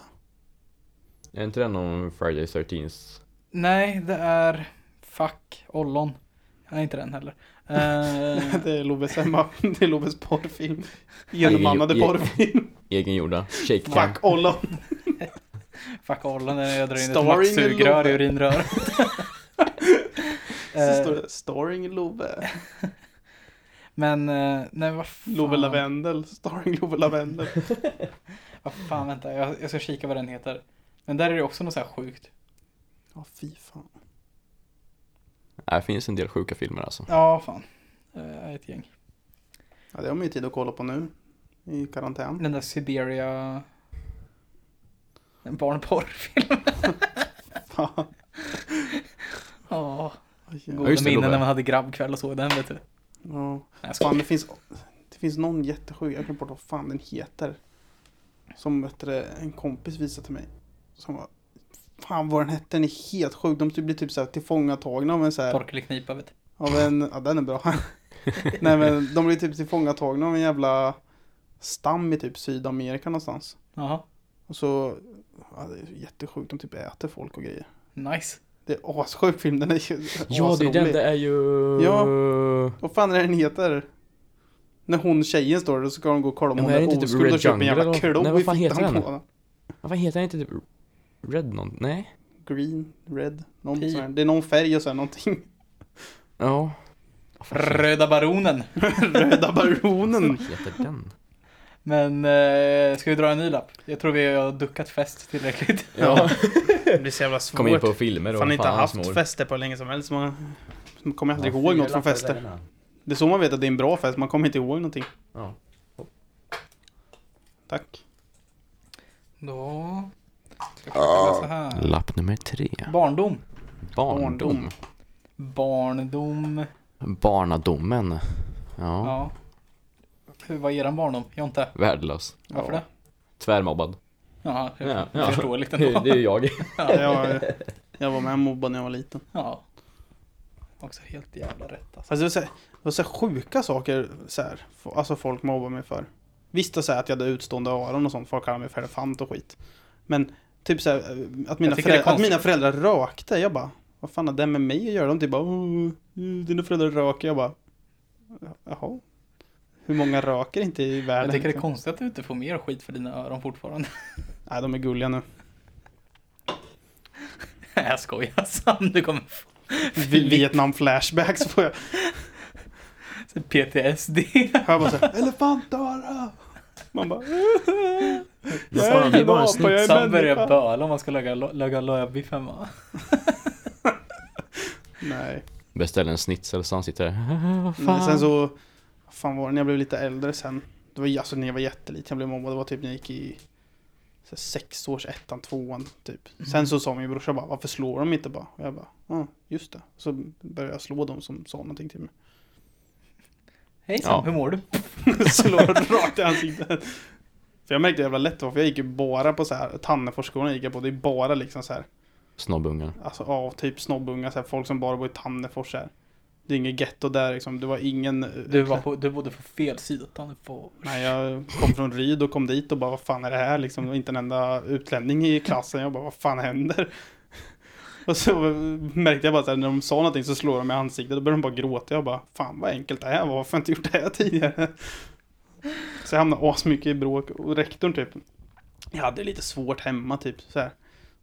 Är inte den om Friday 13th? Nej, det är Fuck Ollon. Nej, inte den heller. Eh, Det är Loves Emma. Det är Loves porrfilm. Genommannade Ge- ge- porrfilm. Egengjorda? Shake Tank? Fuck ollon. fuck Ollon är när jag drar in ett Starring maxsugrör i Love. urinröret. Så Eh, står det Starring Love. men, eh, nej vad fan. Love Lavendel. Starring Love Lavendel. Vad fan, vänta. Jag, jag ska kika vad den heter. Men där är det också något så här sjukt. Ja, fy fan. Här finns en del sjuka filmer alltså. Ja, fan. Eh, ett gäng. Ja, det har man ju tid att kolla på nu. I karantän. Den där Siberia... En barnporrfilm. Fan. Ja. Oj, Ja, Goda just det, minnen Love. när man hade grabbkväll och såg den vet du. Nej, Ja. jag skojar. Fan, det finns, det finns någon jättesjuk, jag kan inte vad fan den heter. Som vet du, en kompis visade till mig. Som var, fan vad den hette, den är helt sjuk. De typ blir typ så här tillfångatagna av en så här, Tork eller knipa vet du. av en, ja den är bra. Nej men de blir typ tillfångatagna av en jävla stam i typ Sydamerika någonstans. Jaha, Och så, ja, det är jättesjukt, de typ äter folk och grejer. nice. Det är assjuk film, den är ju Ja, det är den, asrolig. det är ju... Ja. Vad fan är det den heter? När hon tjejen står där så ska de gå och kolla om Ja, hon men är det är inte typ oskuld Red och köper en Jungle eller jävla vad- klo Nej, vad i fan heter fittan den? på henne. Vad heter den? Inte typ Red någon? Nej? Green, red, någon Pi. sån här. Det är någon färg och sen någonting. Ja. Vad fan Röda baronen. Röda baronen. heter den? Men eh, ska vi dra en ny lapp? Jag tror vi har duckat fest tillräckligt. Ja. Det blir så jävla svårt. Kom in på filmer och fan inte haft smår. fester på länge som helst. Man man kommer aldrig ihåg något från fester. Det är så man vet att det är en bra fest. Man kommer inte ihåg någonting. Ja. Tack. Då... Ska jag kolla så här. Lapp nummer tre. Barndom. Barndom. Barndom. Barndom. Barnadomen. Ja. Ja. Hur var eran barndom? Jonte? Värdelös. Varför Ja. det? Tvärmobbad. Jaha, Ja, ja, ja. förståeligt Det, ändå. det är ju jag. Jag, jag var med mobbad när jag var liten. Ja. Också helt jävla rätt alltså. Alltså det var så här, det var så här sjuka saker så här, f- alltså folk mobbar mig för. Visst att säga att jag hade utstående öron och sånt, folk kallade mig för elefant och skit. Men typ så här, att mina, tycker det är föräldrar, att konstigt. mina föräldrar rökte, jag bara vad fan har det med mig att göra? De typ bara "Åh, dina föräldrar röker, jag bara jaha. Hur många röker inte i världen? Jag tycker det är liksom? konstigt att du inte får mer skit för dina öron fortfarande. Nej, de är gulliga nu. Nej, jag skojar Sam. Du kommer få Vi- Vietnam flashbacks får jag. PTSD. Hör bara så här, elefantöra! Man bara, Vad fan, det är bara en Jag är en Sam börjar människa. böla om man ska laga, laga lövbiff hemma. nej. Beställde en snitsel så han sitter här. Nej, sen så, vad fan var det, när jag blev lite äldre sen. Det var ju- alltså när jag var jätteliten, jag blev mobbad, det var typ när jag gick i så här, sex års ettan, tvåan typ. Mm. Sen så sa min brorsa bara, varför slår de inte bara? Och jag bara, ja just det. Så började jag slå dem som sa någonting till mig. Hej Sam, Ja. hur mår du? Slår dem rakt i ansiktet. För jag märkte hur jävla lätt det var, för jag gick ju bara på så här, Tanneforsskolan gick jag på, det är bara liksom så här, Snobbungar. alltså ja, typ snobbunga, så här, folk som bara bor i Tannefors så här. Det är inget getto där liksom, det var ingen... Du, var på, du bodde på fel sida. utan På... Nej, jag kom från Ryd och kom dit och bara vad fan är det här liksom? Det var inte en enda utlänning i klassen. Jag bara vad fan händer? Och så märkte jag bara att när de sa någonting så slår de mig i ansiktet. Då började de bara gråta. Jag bara fan vad enkelt det här var. Varför har jag inte gjort det här tidigare? Så jag hamnade asmycket i bråk. Och rektorn typ. Jag hade lite svårt hemma typ så här.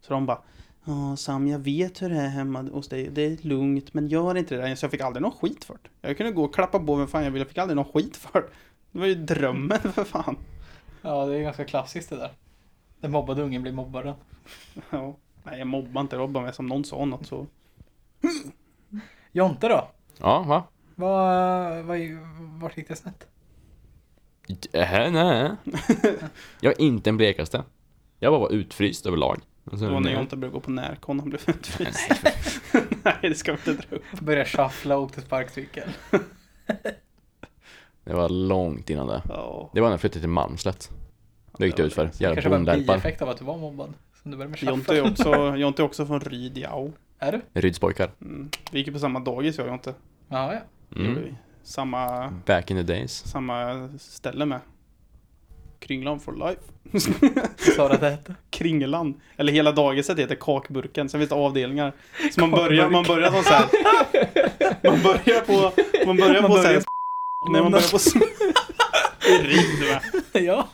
Så de bara Ja Sam, jag vet hur det är hemma hos dig. Det är lugnt, men gör inte det där. Så jag fick aldrig någon skit för det. Jag kunde gå och klappa på vem fan jag ville. Jag fick aldrig någon skit för det. Det var ju drömmen för fan. Ja, det är ganska klassiskt det där. Den mobbade ungen blir mobbaren. Ja. Nej, jag mobbar inte Robban, men som någon sa något så... Jonte då? Ja, va? Vad, vad, vart gick det snett? Äh, nej. Jag är inte den blekaste. Jag bara var utfryst överlag. Och Det sen- var när jag inte började gå på närkon, han blev utfryst. Nej, det ska vi inte dra upp. Började shuffla och åkte sparkcykel. det var långt innan det. Ja. Det var när jag flyttade till Malmslätt. Det gick det var ut för. länge Det Jävla kanske var en bondelpar. bieffekt av att du var mobbad. Som du började med Jonte är shuffle. också, Jonte är också från Rydiao. Är du? Ryds pojkar. Mm. Vi gick ju på samma dagis jag och Jonte. Ja, ja. Gjorde Mm. vi. Samma, Back in the days. samma ställe med. Kringlan for life. Sa du att det hette? Kringlan. Eller hela dagiset heter Kakburken. Sen finns det avdelningar. Så man börjar, man börjar som så här. Man börjar på, man börjar Man på så här. börjar Nej, man börjar på sm- Rid, va? ja.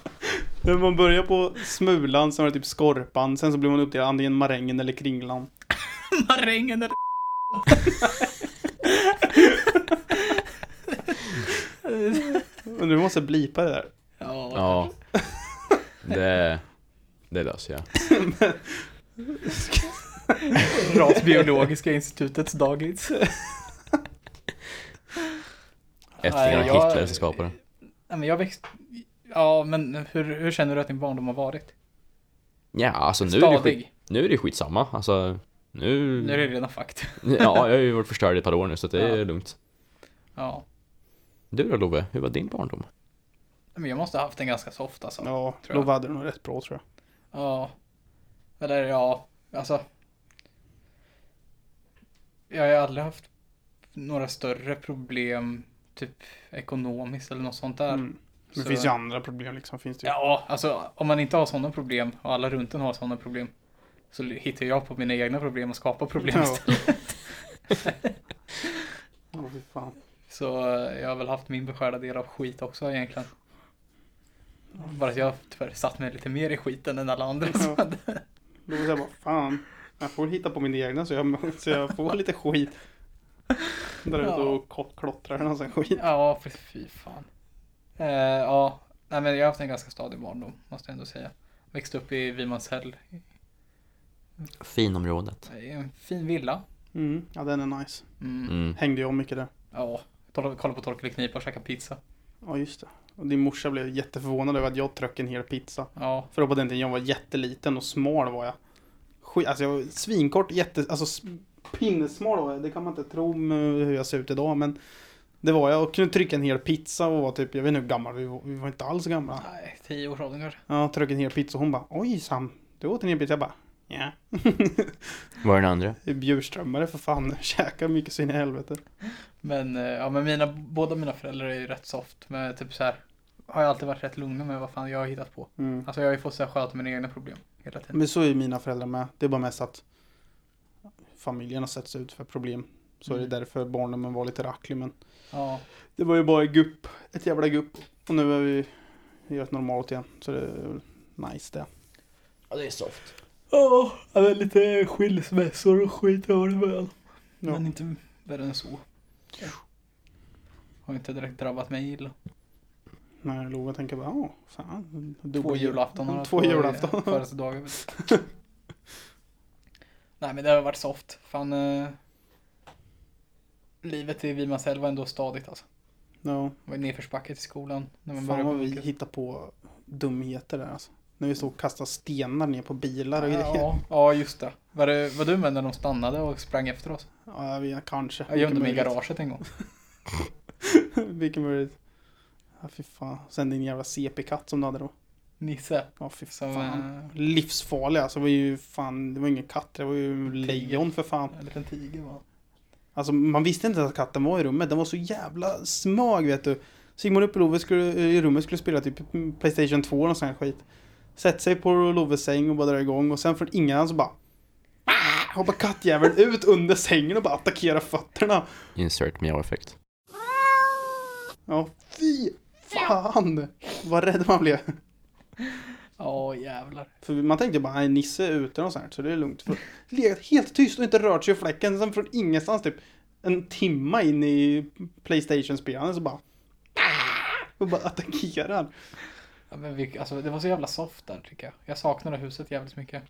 Nej, Man börjar på Smulan, sen var det typ Skorpan, sen så blir man uppdelad antingen Marängen eller Kringlan. Marängen eller Men du måste blipa det där. Ja. Ja. Det, det löser jag. Rasbiologiska institutets dagis. Ättlingarna Nej, jag- Hitler som skapade det. Nej, men jag växt... Ja, men hur, hur känner du att din barndom har varit? Ja, alltså nu är, det skit, Stadig? nu är det skitsamma. Alltså, nu... Nu är det redan fakt. Ja, jag har ju varit förstörd i ett par år nu så att det är Ja. lugnt. Ja. Du då Love, hur var din barndom? Men jag måste ha haft den ganska soft alltså. Ja, tror jag. Love hade det nog rätt bra tror jag. Ja. Eller ja, alltså. Jag har ju aldrig haft några större problem, typ ekonomiskt eller något sånt där. Mm. Men Så- det finns ju andra problem liksom. Finns det ju. Ja, alltså om man inte har sådana problem och alla runt en har sådana problem så hittar jag på mina egna problem och skapar problem Ja. istället. Åh, fy fan. Så eh, jag har väl haft min beskärda del av skit också egentligen. Bara att jag tyvärr satt mig lite mer i skiten än alla andra. som Ja. hade- Då var jag bara, fan. Jag får hitta på min egna så jag, så jag får lite skit. Drar ut Ja. och kot- klottrar någon sån skit. Ja, för fy fan. Eh, ja, nej men jag har haft en ganska stadig barndom, måste jag ändå säga. Växte upp i Vimanshäll, Finområdet. i en fin villa. Mm. Ja, den är nice. Mm. Mm. Hängde jag mycket där. Ja, kolla kolla på Torkel i knipa och käka pizza. Ja, just det. Och din morsa blev jätteförvånad över att jag tröck en hel pizza. Ja, För då på den tiden jag var jätteliten och smal var jag. Skit, alltså jag var svinkort, jätte, alltså s- pinnesmal var jag. Det kan man inte tro med hur jag ser ut idag men det var jag och kunde trycka en hel pizza och var typ, jag vet inte hur gammal vi var, vi var inte alls gamla. nej, tio års ålder kanske. Ja, tryckte en hel pizza och hon bara oj Sam, du åt en hel pizza. Jag bara ja. Var den andra? Bjurströmmare för fan, käkar mycket så in i helvete. Men, eh, ja, men mina, båda mina föräldrar är ju rätt soft. Men typ så här, har jag alltid varit rätt lugna med vad fan jag har hittat på. Mm. Alltså jag har ju fått så här, sköta mina egna problem hela tiden. Men så är ju mina föräldrar med. Det är bara mest att familjen har sett sig ut för problem. Så är Mm. det därför barndomen var lite racklig men Ja, Det var ju bara ett gupp, ett jävla gupp. Och nu är vi i ett normalt igen, så det är nice det. Ja, det är soft. oh, lite skilsmässor och skit har det väl. Ja. Men inte värre än så. Har inte direkt drabbat mig illa. När Love tänker bara, åh, fan. Två julafton Två julafton. Födelsedagar. Nej men det har varit soft. Fan. Eh, livet i Vimanshäll var ändå stadigt alltså. Ja, Det var ju nedförsbacke till skolan. När man fan började vad vi på- hittar på dumheter där alltså. När vi stod och kastade stenar ner på bilar och grejer. Ja, Ja, ja just det. Var, det. var du med när de stannade och sprang efter oss? jag vet, kanske. Jag gömde mig i Vilken garaget en gång. möjlighet. Vilken möjlighet. Ja, fy fan. Sen din jävla CP-katt som du hade då. Nisse. Ja, fy Som fan. eh, Livsfarlig alltså. Det var ju fan, det var ingen katt, det var ju lejon för fan. en liten tiger var. Alltså man visste inte att katten var i rummet, den var så jävla smög vet du. Så gick man upp i, Love skulle, i rummet skulle spela typ Playstation 2 och nån sån här skit. Sätter sig på Loves säng och bara drar igång och sen från ingenstans så bara "Ah!" hoppar kattjäveln ut under sängen och bara attackerar fötterna. Insert miau-effekt. Ja, fy fan vad rädd man blev. Ja jävlar. För man tänkte bara, nej Nisse är ute och sånt här, så det är lugnt. För legat helt tyst och inte rört sig i fläcken, sen från ingenstans typ en timma in i Playstation-spelandet så bara... "Ah!" Och bara attackerar. Ja, men vi, alltså, det var så jävla soft där tycker jag. Jag saknade huset jävligt mycket.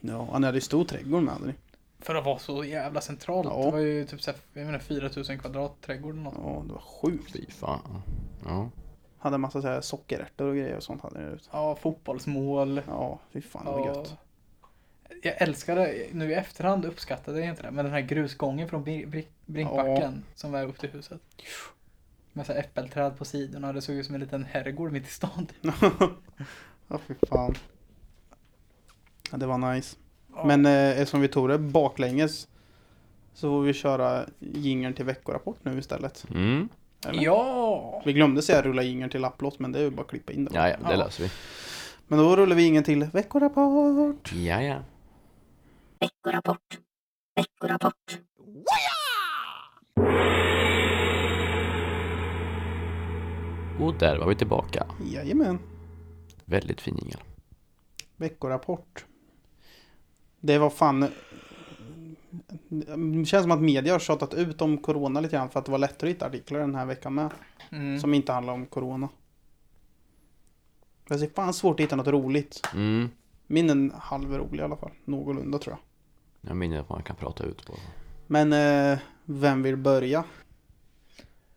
Ja, han hade ju stor trädgård med hade ni. För att vara så jävla centralt. Ja. Det var ju typ såhär, jag menar 4000 kvadrat trädgård eller något. Ja, det var sjukt. Fy fan. Ja. Hade en massa så här sockerärtor och grejer och sånt hade ni där ute. Ja, fotbollsmål. Ja, fy fan det var Ja. gött. Jag älskade, nu i efterhand uppskattade jag inte det, men den här grusgången från Bri- Bri- Brinkbacken som var upp till huset. Med så här äppelträd på sidorna, det såg ut som en liten herrgård mitt i stan. ja, fy fan. Ja, det var nice. Men eh, eftersom vi tog det baklänges så får vi köra jingeln till veckorapport nu istället. Mm. Eller? Ja! Vi glömde säga rulla jingeln till applåt, men det är ju bara att klippa in det. Ja, ja, det löser vi. Men då rullar vi jingeln till veckorapport. Ja, ja. Och där var vi tillbaka. Jajamän. Väldigt fin jingel. Veckorapport. Det var fan... eh, Det känns som att media har tjatat ut om corona lite grann för att det var lättare att hitta artiklar den här veckan med. Mm. Som inte handlar om corona. Fast Det är fan svårt att hitta något roligt. Mm. Min är en halv rolig i alla fall. Någorlunda tror jag. Jag minns att man kan prata ut på. Men eh, vem vill börja?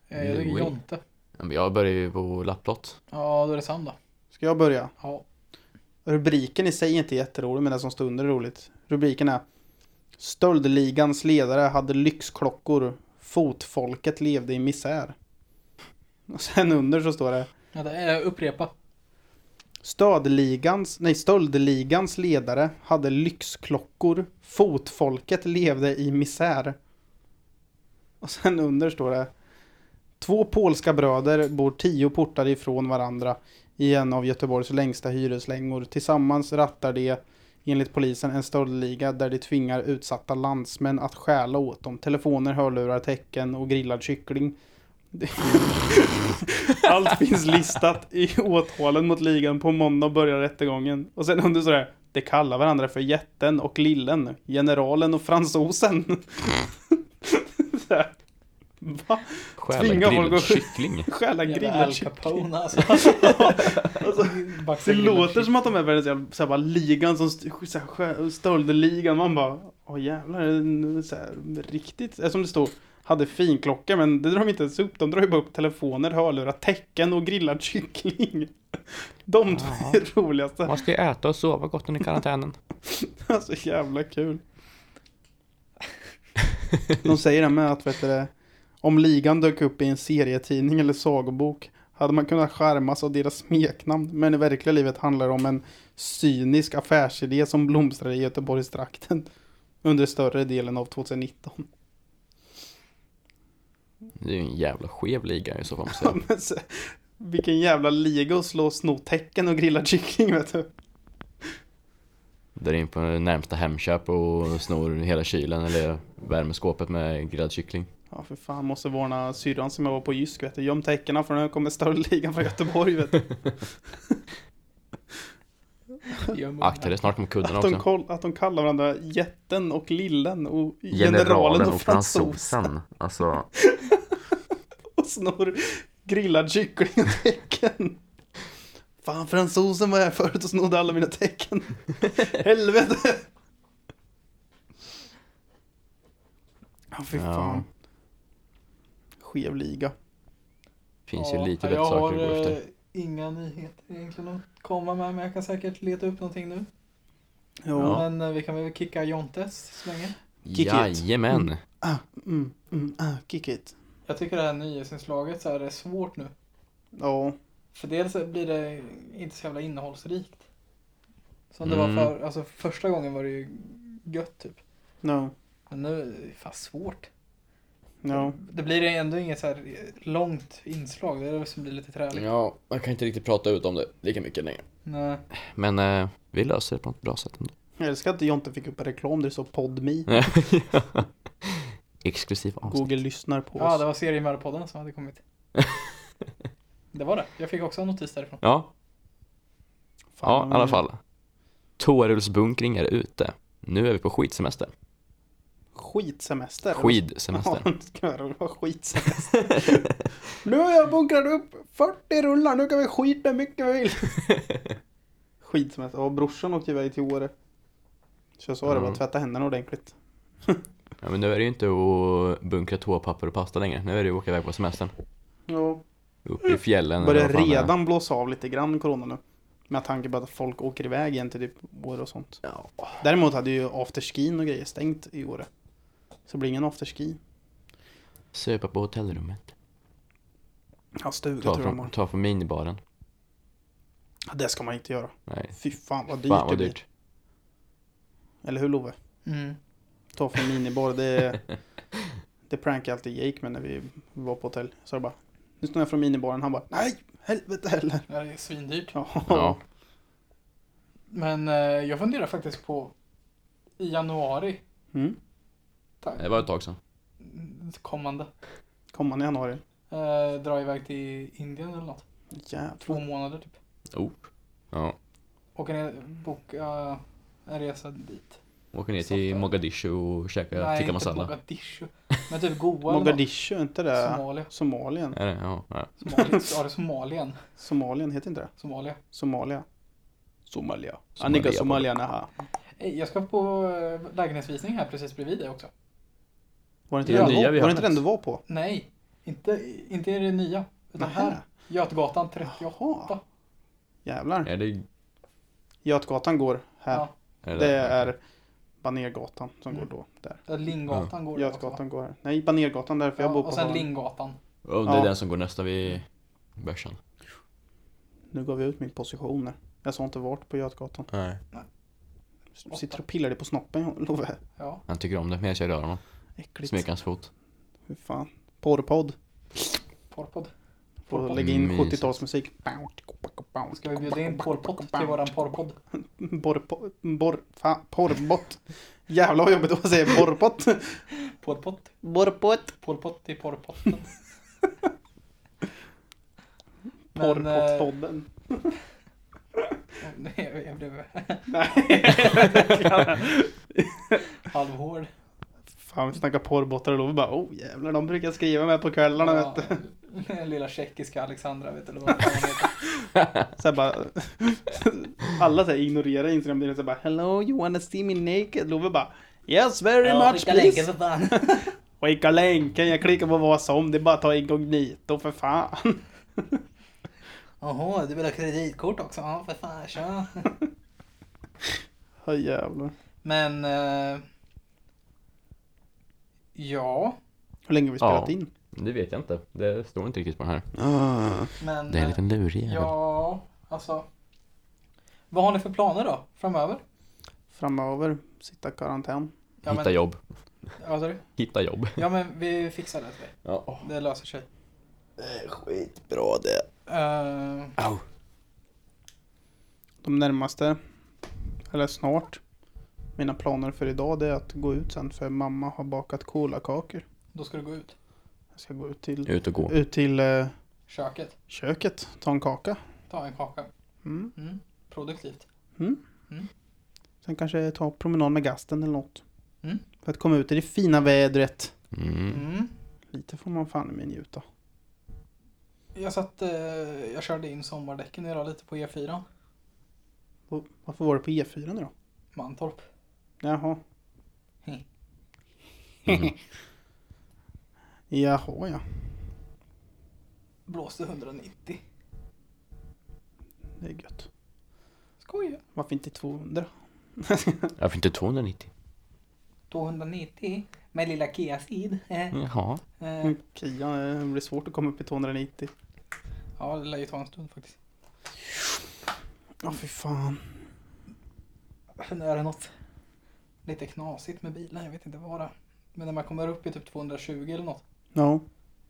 Eh, Jag tycker Louis. Jonte. Ja, men Jag börjar ju på lapplott. Ja, då är det Sam då. Ska jag börja? Ja. Rubriken i sig är inte jätterolig men det som står under är roligt. Rubriken är Stöldligans ledare hade lyxklockor. Fotfolket levde i misär. Och sen under så står det ja det är, upprepa. Stöldligans, nej, stöldligans ledare hade lyxklockor. Fotfolket levde i misär. Och sen under står det. Två polska bröder bor tio portar ifrån varandra i en av Göteborgs längsta hyreslängor. Tillsammans rattar de, enligt polisen, en stöldliga där de tvingar utsatta landsmän att stjäla åt dem. Telefoner, hörlurar, tecken och grillad kyckling. Allt finns listat i åtalen mot ligan. På måndag börjar rättegången. Och sen under sådär. De kallar varandra för jätten och lillen, generalen och fransosen. Så här. Va? Stjäla Tvinga folk grillad att- kyckling. Stjäla Jävla grillad Al kyckling. Capone alltså. Alltså, Baxa Det grillad låter kyckling. som att de är världens jävla så här bara ligan som st- så här skö- stöldligan. Man bara, åh jävlar, en- så här, riktigt. eh, Som det står, hade fin klocka men det drar de inte ens upp. De drar ju bara upp telefoner, hörlurar, tecken och grillad kyckling. De två Jaha. är roligaste. Man ska ju äta och sova gott under karantänen. Alltså jävla kul. De säger det med att vet du, det, om ligan dök upp i en serietidning eller sagobok hade man kunnat skärmas av deras smeknamn. Men i verkliga livet handlar det om en cynisk affärsidé som blomstrade i Göteborgstrakten under större delen av 2019. Det är ju en jävla skev liga i så fall. måste jag säga. Men så, vilken jävla liga att slå snotecken och grilla kyckling vet du. Där in på närmsta Hemköp och snor hela kylen eller värmeskåpet med grillad kyckling. Ja för fan, måste varna syrran som jag var på Jysk vet du. Göm täckena för nu kommer stöldligan från Göteborg vet du. Gör munnen. Akta dig, snart kommer kudden Att de, också. koll, att de kallar varandra jätten och lillen och generalen och fransosen. Alltså, Och snor grillad kyckling och tecken. Fan, fransosen var här förut och snodde alla mina tecken. Helvete! Ja, fy Ja. fan. Skev liga. finns ju Ja, lite jag bättre saker att gå har, eh, efter. inga nyheter egentligen att komma med, men jag kan säkert leta upp någonting nu. Ja. Men eh, vi kan väl kicka Jontes så länge. eh, kick it. Jajamän! Ah, mm, mm, ah, kick it. Jag tycker det här nyhetsinslaget så här är svårt nu. Ja, För dels blir det inte så jävla innehållsrikt. Som det Mm. var för, alltså första gången var det ju gött typ. no, Men nu är det fan svårt. no. Det blir ändå inget så här långt inslag. Det är det som blir lite träligt. Ja, man kan inte riktigt prata ut om det lika mycket längre. Nej. Men eh, vi löser det på något bra sätt ändå. Jag älskar att Jonte fick upp en reklam där det stod PodMe. Exklusiv avsnitt. Google lyssnar på Ja, oss. det var seriemördarpodden som hade kommit. det var det. Jag fick också en notis därifrån. Ja, Fan, ja i alla men- fall. Toarullsbunkring är ute. Nu är vi på skidsemester. Skitsemester. Skidsemester. Ja, det ska vara- det var skitsemester. nu har jag bunkrat upp 40 rullar, nu kan vi skita hur mycket vi vill. skitsemester. Ja, brorsan åkte iväg till Åre. Så jag sa det, Ja. bara tvätta händerna ordentligt. Ja, men nu är det ju inte att bunkra toapapper och pasta längre. Nu är det ju att åka iväg på semestern. Ja, Upp i fjällen. eller börjar vad fan det är. redan blåsa av lite grann corona nu. Med tanke på att folk åker iväg igen till typ Åre och sånt. Ja. Däremot hade ju afterskin och grejer stängt i Åre. Så det blir ingen afterski. Söpa på hotellrummet. Ja, stuga Ta tror jag de har. från, ta från minibaren. Ja, Det ska man inte göra. Nej. Fy fan vad dyrt Fan det vad blir. dyrt. Eller hur Love? Mm. Ta från minibar. Det, det prankade alltid Jake med när vi var på hotell. Så jag bara, nu står jag från minibaren. Han bara, nej, helvete heller. Ja, Det är svindyrt. Ja. Ja. Men eh, jag funderar faktiskt på i januari Mm. Det var ett tag sedan. kommande Kommande januari. eh, dra iväg till Indien eller något. Två Jävlar. månader typ. Oh. Ja. Och en, boka en resa dit. Åker ner till Mogadishu och käkar tikka masala. Mogadishu. Men typ Goa eller något. Mogadishu, är inte det? Somalia. Somalien. Är det? Ja. ja. Somalia. Ja, det är Somalien. Somalien heter inte det? Somalia. Somalia. Somalia. Somalia. Annika Somalia Naha. Ey, Jag ska på eh, lägenhetsvisning här precis bredvid dig också. Var det inte Det är den det du nya var, vi var, har det inte haft. den du var på? Nej, inte, inte i det nya. Utan här. Nähä. Götgatan 38. Jaha. Jävlar. Är det... Götgatan går här. Ja, Är Det är Banergatan som går Mm. då. Där. där Linggatan går det också, va? Götgatan går här. Nej, Banergatan därför jag Ja, bor på och sen hörn. Linggatan. Och det är Ja. den som går nästa vid börsen. Nu gav jag ut min position här. Jag sa inte vart på Götgatan. Nej. Du sitter och pillar dig på snoppen Love. Ja. Han tycker om det, men jag kör i öronen. Äckligt. Smeker hans fot. Hur fan. Porrpodd. Porrpodd. Får Porrpodd. lägga in Mysigt. 70-talsmusik. Ska vi bjuda in Pol Pot till våran porrpodd? Borrpott. Borr... Fan. Porrbott. Jävlar vad jobbigt att säga borrpott. Pol Pot? Borrpott. Pol Pot till porrpotten. Men, eh, Porrpottpodden. nej, jag blev eh, Nej. halvhård. Fan vi snackar porrbottar och Love bara oh jävlar de brukar skriva med på kvällarna vet du. Den lilla tjeckiska Alexandra, vet du eller vad fan hon heter. Så här bara, alla så här ignorerar Instagram direkt så här bara Hello you wanna see me naked? Love bara Yes very Ja, much skicka länken please. för fan. Skicka länken, jag klickar på vad som, det är bara att ta inkognito för fan. Jaha, du vill ha kreditkort också? Ja, för fan, kör. Oh, jävlar. Men... Eh, ja, Hur länge har vi Ja. spelat in? Ah. Det vet jag inte. Det står inte riktigt på den här. men... Det är en eh, liten lurig jävel. Ja, alltså... Vad har ni för planer då, framöver? Framöver, sitta i karantän. Ja, Hitta men, jobb. ja, vad sa du? Hitta jobb. ja, men vi fixar det till dig. Ja. Det löser sig. Skitbra det. Eh, Au. De närmaste, eller snart, mina planer för idag det är att gå ut sen för mamma har bakat kolakakor. då ska du gå ut. Jag ska gå ut till, Ut och gå. ut till eh, Köket. köket, ta en kaka. Ta en kaka. Mm. Mm. Produktivt. Sen kanske ta promenad med gasten eller något. Mm. För att komma ut i det fina vädret. Mm. Mm. Lite får man fan i mig njuta. Jag satt... Eh, jag körde in sommardäcken idag lite på E E4. Och Varför var det på E4 nu då? Mantorp. Jaha. He. Mm. Jaha ja. Blåste 190. Det är gött. Skoja. Varför inte 200? Varför inte 290? 290 med lilla Kia Ceed. Eh, Jaha. eh, Mm. Kia, det blir svårt att komma upp i 290. ja, det lär ju ta en stund faktiskt. Ja, fy fan. Sen är det något lite knasigt med bilen. Jag vet inte vad det är. Men när man kommer upp i typ 220 eller något. Ja,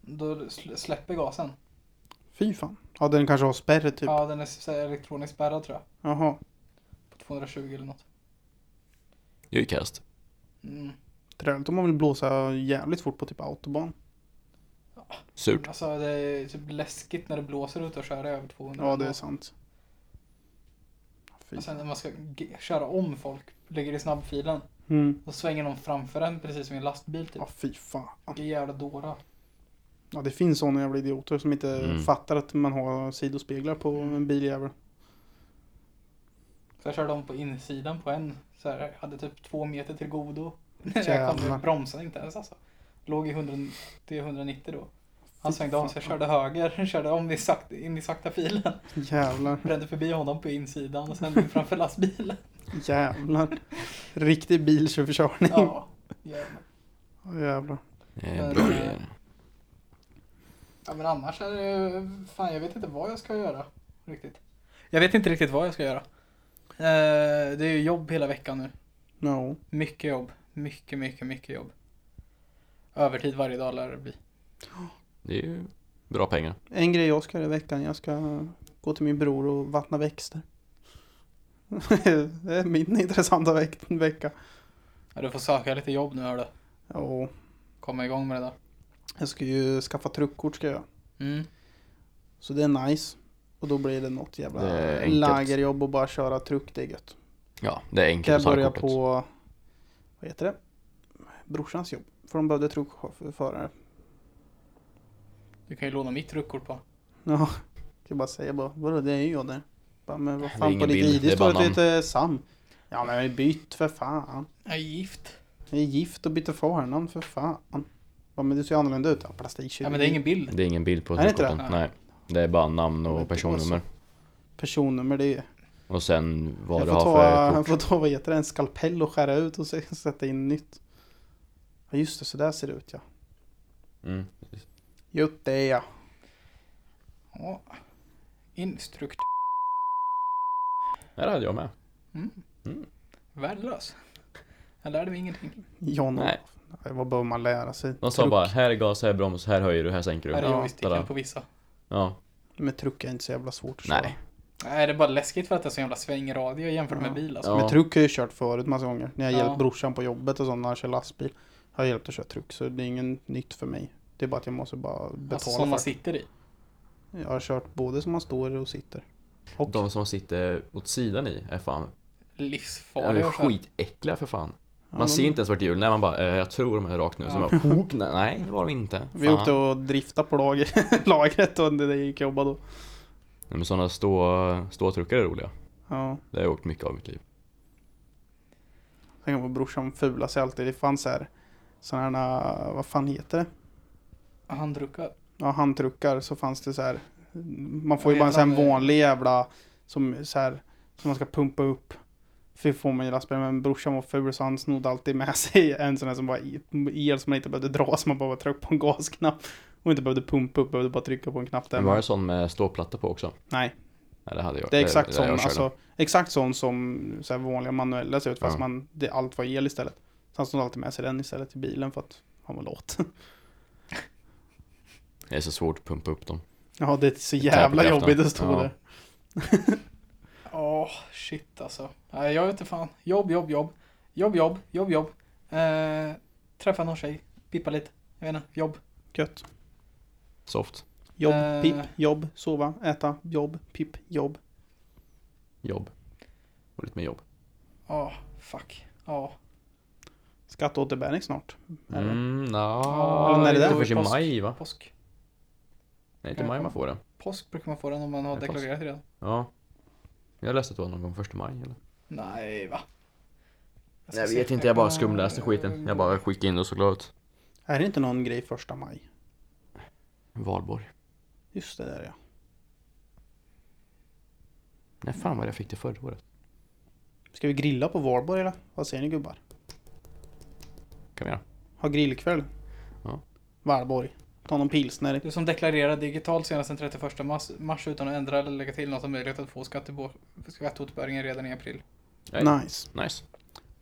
Då sl- släpper gasen. fy fan. Ja, den kanske har spärr typ. Ja, den är så här elektroniskt spärrad tror jag. Jaha. På 220 eller något. Det är ju kast. Mm. Träligt om man vill blåsa jävligt fort på typ autobahn. Surt. Alltså det är typ läskigt när det blåser ut och kör över 200. Ja, det är sant. Fy. Och sen när man ska g- köra om folk, ligger i snabbfilen. Mm. Då svänger någon framför en precis som i en lastbil typ. Ja, fy fan. Vilka jävla dårar. Ja, det finns sådana jävla idioter som inte Mm. fattar att man har sidospeglar på en biljävel. Så jag körde om på insidan på en. Så här, hade typ två meter till godo. När jag kom Jävlar. ut bromsade inte ens alltså. Låg i 190 då. Han svängde om så jag körde höger, körde om i sakta, in i sakta filen. Jävlar, Brände förbi honom på insidan och sen framför lastbilen. jävlar. Riktig biltjuvkörning. Ja. Ja, jävlar. jävlar. Det är Men, bra eh, grejer. Ja men annars är det, fan jag vet inte vad jag ska göra riktigt. Jag vet inte riktigt vad jag ska göra. Eh, det är ju jobb hela veckan nu. No. Mycket jobb. Mycket, mycket, mycket jobb. Övertid varje dag lär det bli. Det är ju bra pengar. En grej jag ska göra i veckan, jag ska gå till min bror och vattna växter. det är min intressanta veck- vecka. Ja, du får söka lite jobb nu hördu. Ja, Komma igång med det där. jag ska ju skaffa truckkort ska jag. Mm. Så det är nice. Och då blir det något jävla Det är enkelt. lagerjobb och bara köra truck, det är gött. Ja, det är enkelt Kan jag att ta det kortet. börja på, vad heter det? Brorsans jobb. För de behövde truckförare. Du kan ju låna mitt truckkort på. Ja, kan jag bara säga bara, vadå det är ju jag där. Bara, men vad Det är fan på ingen ditt bild, det är ID bara står det att du heter Sam. Ja men jag är bytt för fan. Jag är gift. Jag är gift och byter förnamn för fan. Bara, men du ser annorlunda ut. Ja, plastikkirurgi. Ja, men det är ingen bild. Det är ingen bild på Är det inte det? korten. Nej. Det är bara namn och Men det var så. personnummer. Personnummer det är. Och sen vad Jag du får har ta, för kort. jag får ta, vad heter det, en skalpell och skära ut och se- sätta in nytt. Ja just det, så där ser det ut ja. Mm. Just det ja. Ja. Instrukt. Ja, Det hade jag med. Mm. Mm. Värdelös. Jag lärde mig ingenting. Jan Nej. Nej, Vad behöver man lära sig? De sa Truck- bara här är gas, här är broms, här höjer du, här sänker Här du. är Ja, tada. joysticken på vissa. Ja. Men truck är inte så jävla svårt att Nej. Nej, det är bara läskigt för att det är så jävla svängradie jämfört med bil alltså. Ja. köra. Men truck har jag ju kört förut massa gånger. När jag Ja. hjälpt brorsan på jobbet och sånt när han kör lastbil. Har jag hjälpt att köra truck så det är inget nytt för mig. Det är bara att jag måste bara betala Alltså som man för sitter i. det. Jag har kört både som man står och sitter. Och De som sitter åt sidan i är fan är Livsfarliga. ju och så här. skitäckliga för fan. Ja, Man de- ser inte ens vart hjulen är, man bara eh, jag tror de är rakt nu. Så Ja. bara pok, nej, nej det var de inte. Fan. Vi åkte och driftade på lag- lagret och det där gick jobba då. Nej, men sådana stå, ståtruckar är roliga. Ja. Det har jag åkt mycket av i mitt liv. Tänk på brorsan fula sig alltid. Det fanns så här sådana här, vad fan heter det? Handdruckar. ja, handtruckar så fanns det så här. Man får Jag ju bara en vet sån här vad det är. vanlig jävla som så här som man ska pumpa upp. För får man ju lastbil, men brorsan var ful så han snodde alltid med sig en sån här som var i- el som man inte behövde dra, så man bara tryckte på en gasknapp. Och inte behövde pumpa upp, behövde bara trycka på en knapp där. Men var det sån med ståplatta på också? Nej, Nej, det hade jag. det är exakt det- det sån, jag körde. alltså, exakt sån som så här vanliga manuella ser ut, fast Ja. man, det, allt var el istället. Så han snodde alltid med sig den istället till bilen för att han var låt. Det är så svårt att pumpa upp dem. Ja, det är så tär på jävla kraften. jobbigt att stå Ja. där. Åh, shit alltså. Nej, jag vet inte fan. Jobb, jobb, jobb. Jobb, jobb, jobb, jobb. Eh, träffa någon tjej. Pippa lite. Jag vet inte. Jobb. Gött. Soft. Jobb, Eh. pipp, jobb, sova, äta, jobb, pipp, jobb. Jobb. Och lite mer jobb. Ja, fuck. Ja. Skatteåterbäring snart. Är det? Mm, nja. Ja, eller när är det det där? är först i Påsk. maj va? Påsk. Nej, inte i maj man får det. Påsk brukar man få den om man Det har är påsk. deklarerat redan. Ja. Jag läste att det var någon gång första maj eller? Nej, va? ska Jag se. vet inte, jag bara kan- skumläste skiten. Jag bara skickade in det och så glad ut. Är det inte någon grej första maj? Valborg. Just det där ja. Nej fan vad jag fick det förra året. Ska vi grilla på Valborg eller? Vad säger ni gubbar? Kan vi göra. Ha grillkväll? Ja. Valborg. Ta någon pilsner. Du som deklarerar digitalt senast den 31 mars, mars utan att ändra eller lägga till något har möjlighet att få skattebo- skatteåterbäringen redan i april. Nej. Nice. Nice.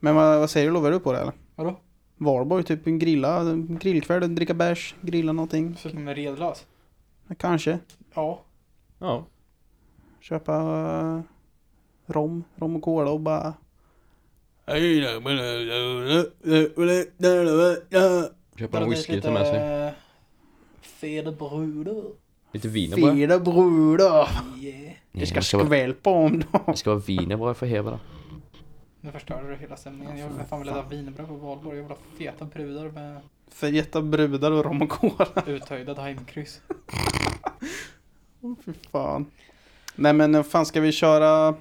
Men vad, vad säger du? Lovar du på det eller? Vadå? Valborg, typ en grilla, en grillkväll, dricka bärs, grilla någonting. Förutom med redlös? Kanske. Ja. Ja. Köpa eh, rom, rom och cola och bara... Köpa en whisky ta med sig. eh, Fede bruder. Lite viner bara. Fina brudar! Yeah. Vi Nej, ska det ska vara- skvälpa om dem. det ska vara viner bara för hela. Nu förstörde du hela stämningen. Jag vill fan vilja ha wienerbröd på valborg. Jag vill ha feta brudar med Feta brudar och rom och cola. uthöjda daimkryss. Fy fan. Nej men eh, fan ska vi köra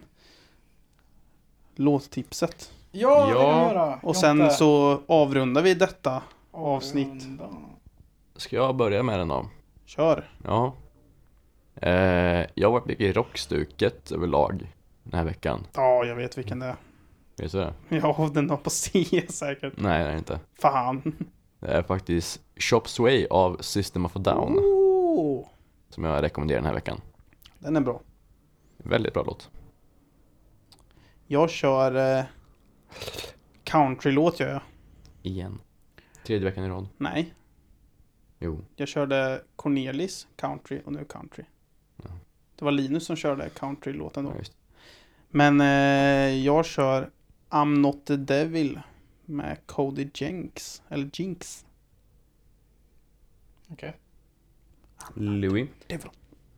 låttipset? Ja, det Ja. kan vi göra! Och sen så avrundar vi detta. avsnitt. Ska jag börja med den då? Kör. Ja. Eh, jag har varit mycket i rockstuket överlag den här veckan. Ja, jag vet vilken det är. Vet du det? Ja, den har på C säkert. Nej, det är det inte. Fan. Det är faktiskt Chop Sway av System of a Down Oh, som jag rekommenderar den här veckan. den är bra. Väldigt bra låt. Jag kör eh, countrylåt gör jag. Igen. Tredje veckan i rad. Nej, Jo. jag körde Cornelis country och nu country. Ja. Det var Linus som körde countrylåten då. Ja, just. Men eh, jag kör I'm not the devil med Cody Jenks. Eller Jinx. Louis. Devil.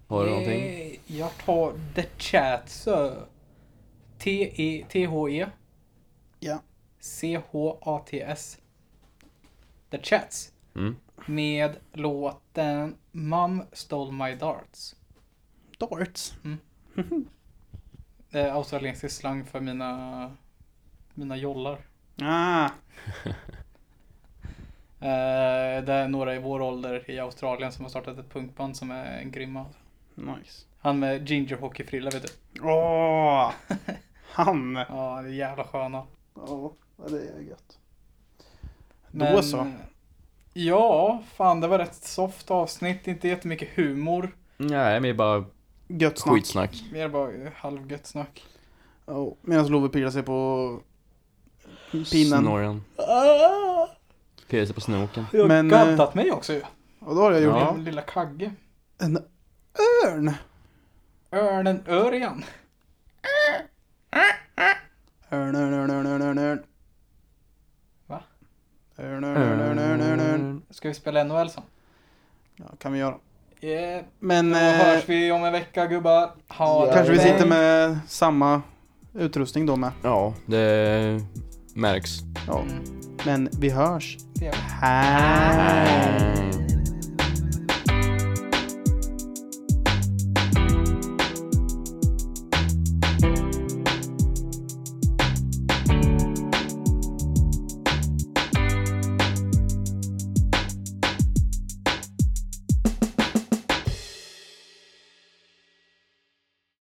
Har du någonting? Eh, Jag tar The E, Chats. T-E-T-H-E. Ja. C-H-A-T-S. The Chats. Mm. Med låten Mom Stole My Darts. Darts. Eh, Australiensisk slang för mina, mina jollar. Ah, Eh, det är några i vår ålder i Australien som har startat ett punkband som är grymma. nice. Han med ginger hockeyfrilla vet du. Åh! Han! Ja, det är jävla sköna. Ja, det är gött. Då Men- så. Ja, fan det var rätt soft avsnitt. Inte jättemycket humor. Nej, men bara Gött snack. skitsnack. Mer bara eh, halvgött snack. Oh, Medan Love pillar sig på pinnen. Ah! Snorren. Pirrar sig på snoken. Jag har Men, eh, gaddat mig också ju. Och då har jag gjort Ja. Min lilla kagge. en örn. Örnen Örjan. Örn, örn, örn, örn, örn, örn, örn. Va? Örn, örn, örn, örn, örn, örn, örn. Ska vi spela NHL sen? Ja, kan vi göra. Yeah. Men Då eh, hörs vi om en vecka gubbar. Ha det kanske vi bra. sitter med samma utrustning då med. Ja, det märks. Ja. Mm. Men vi hörs. Det gör vi. Hej! Mm.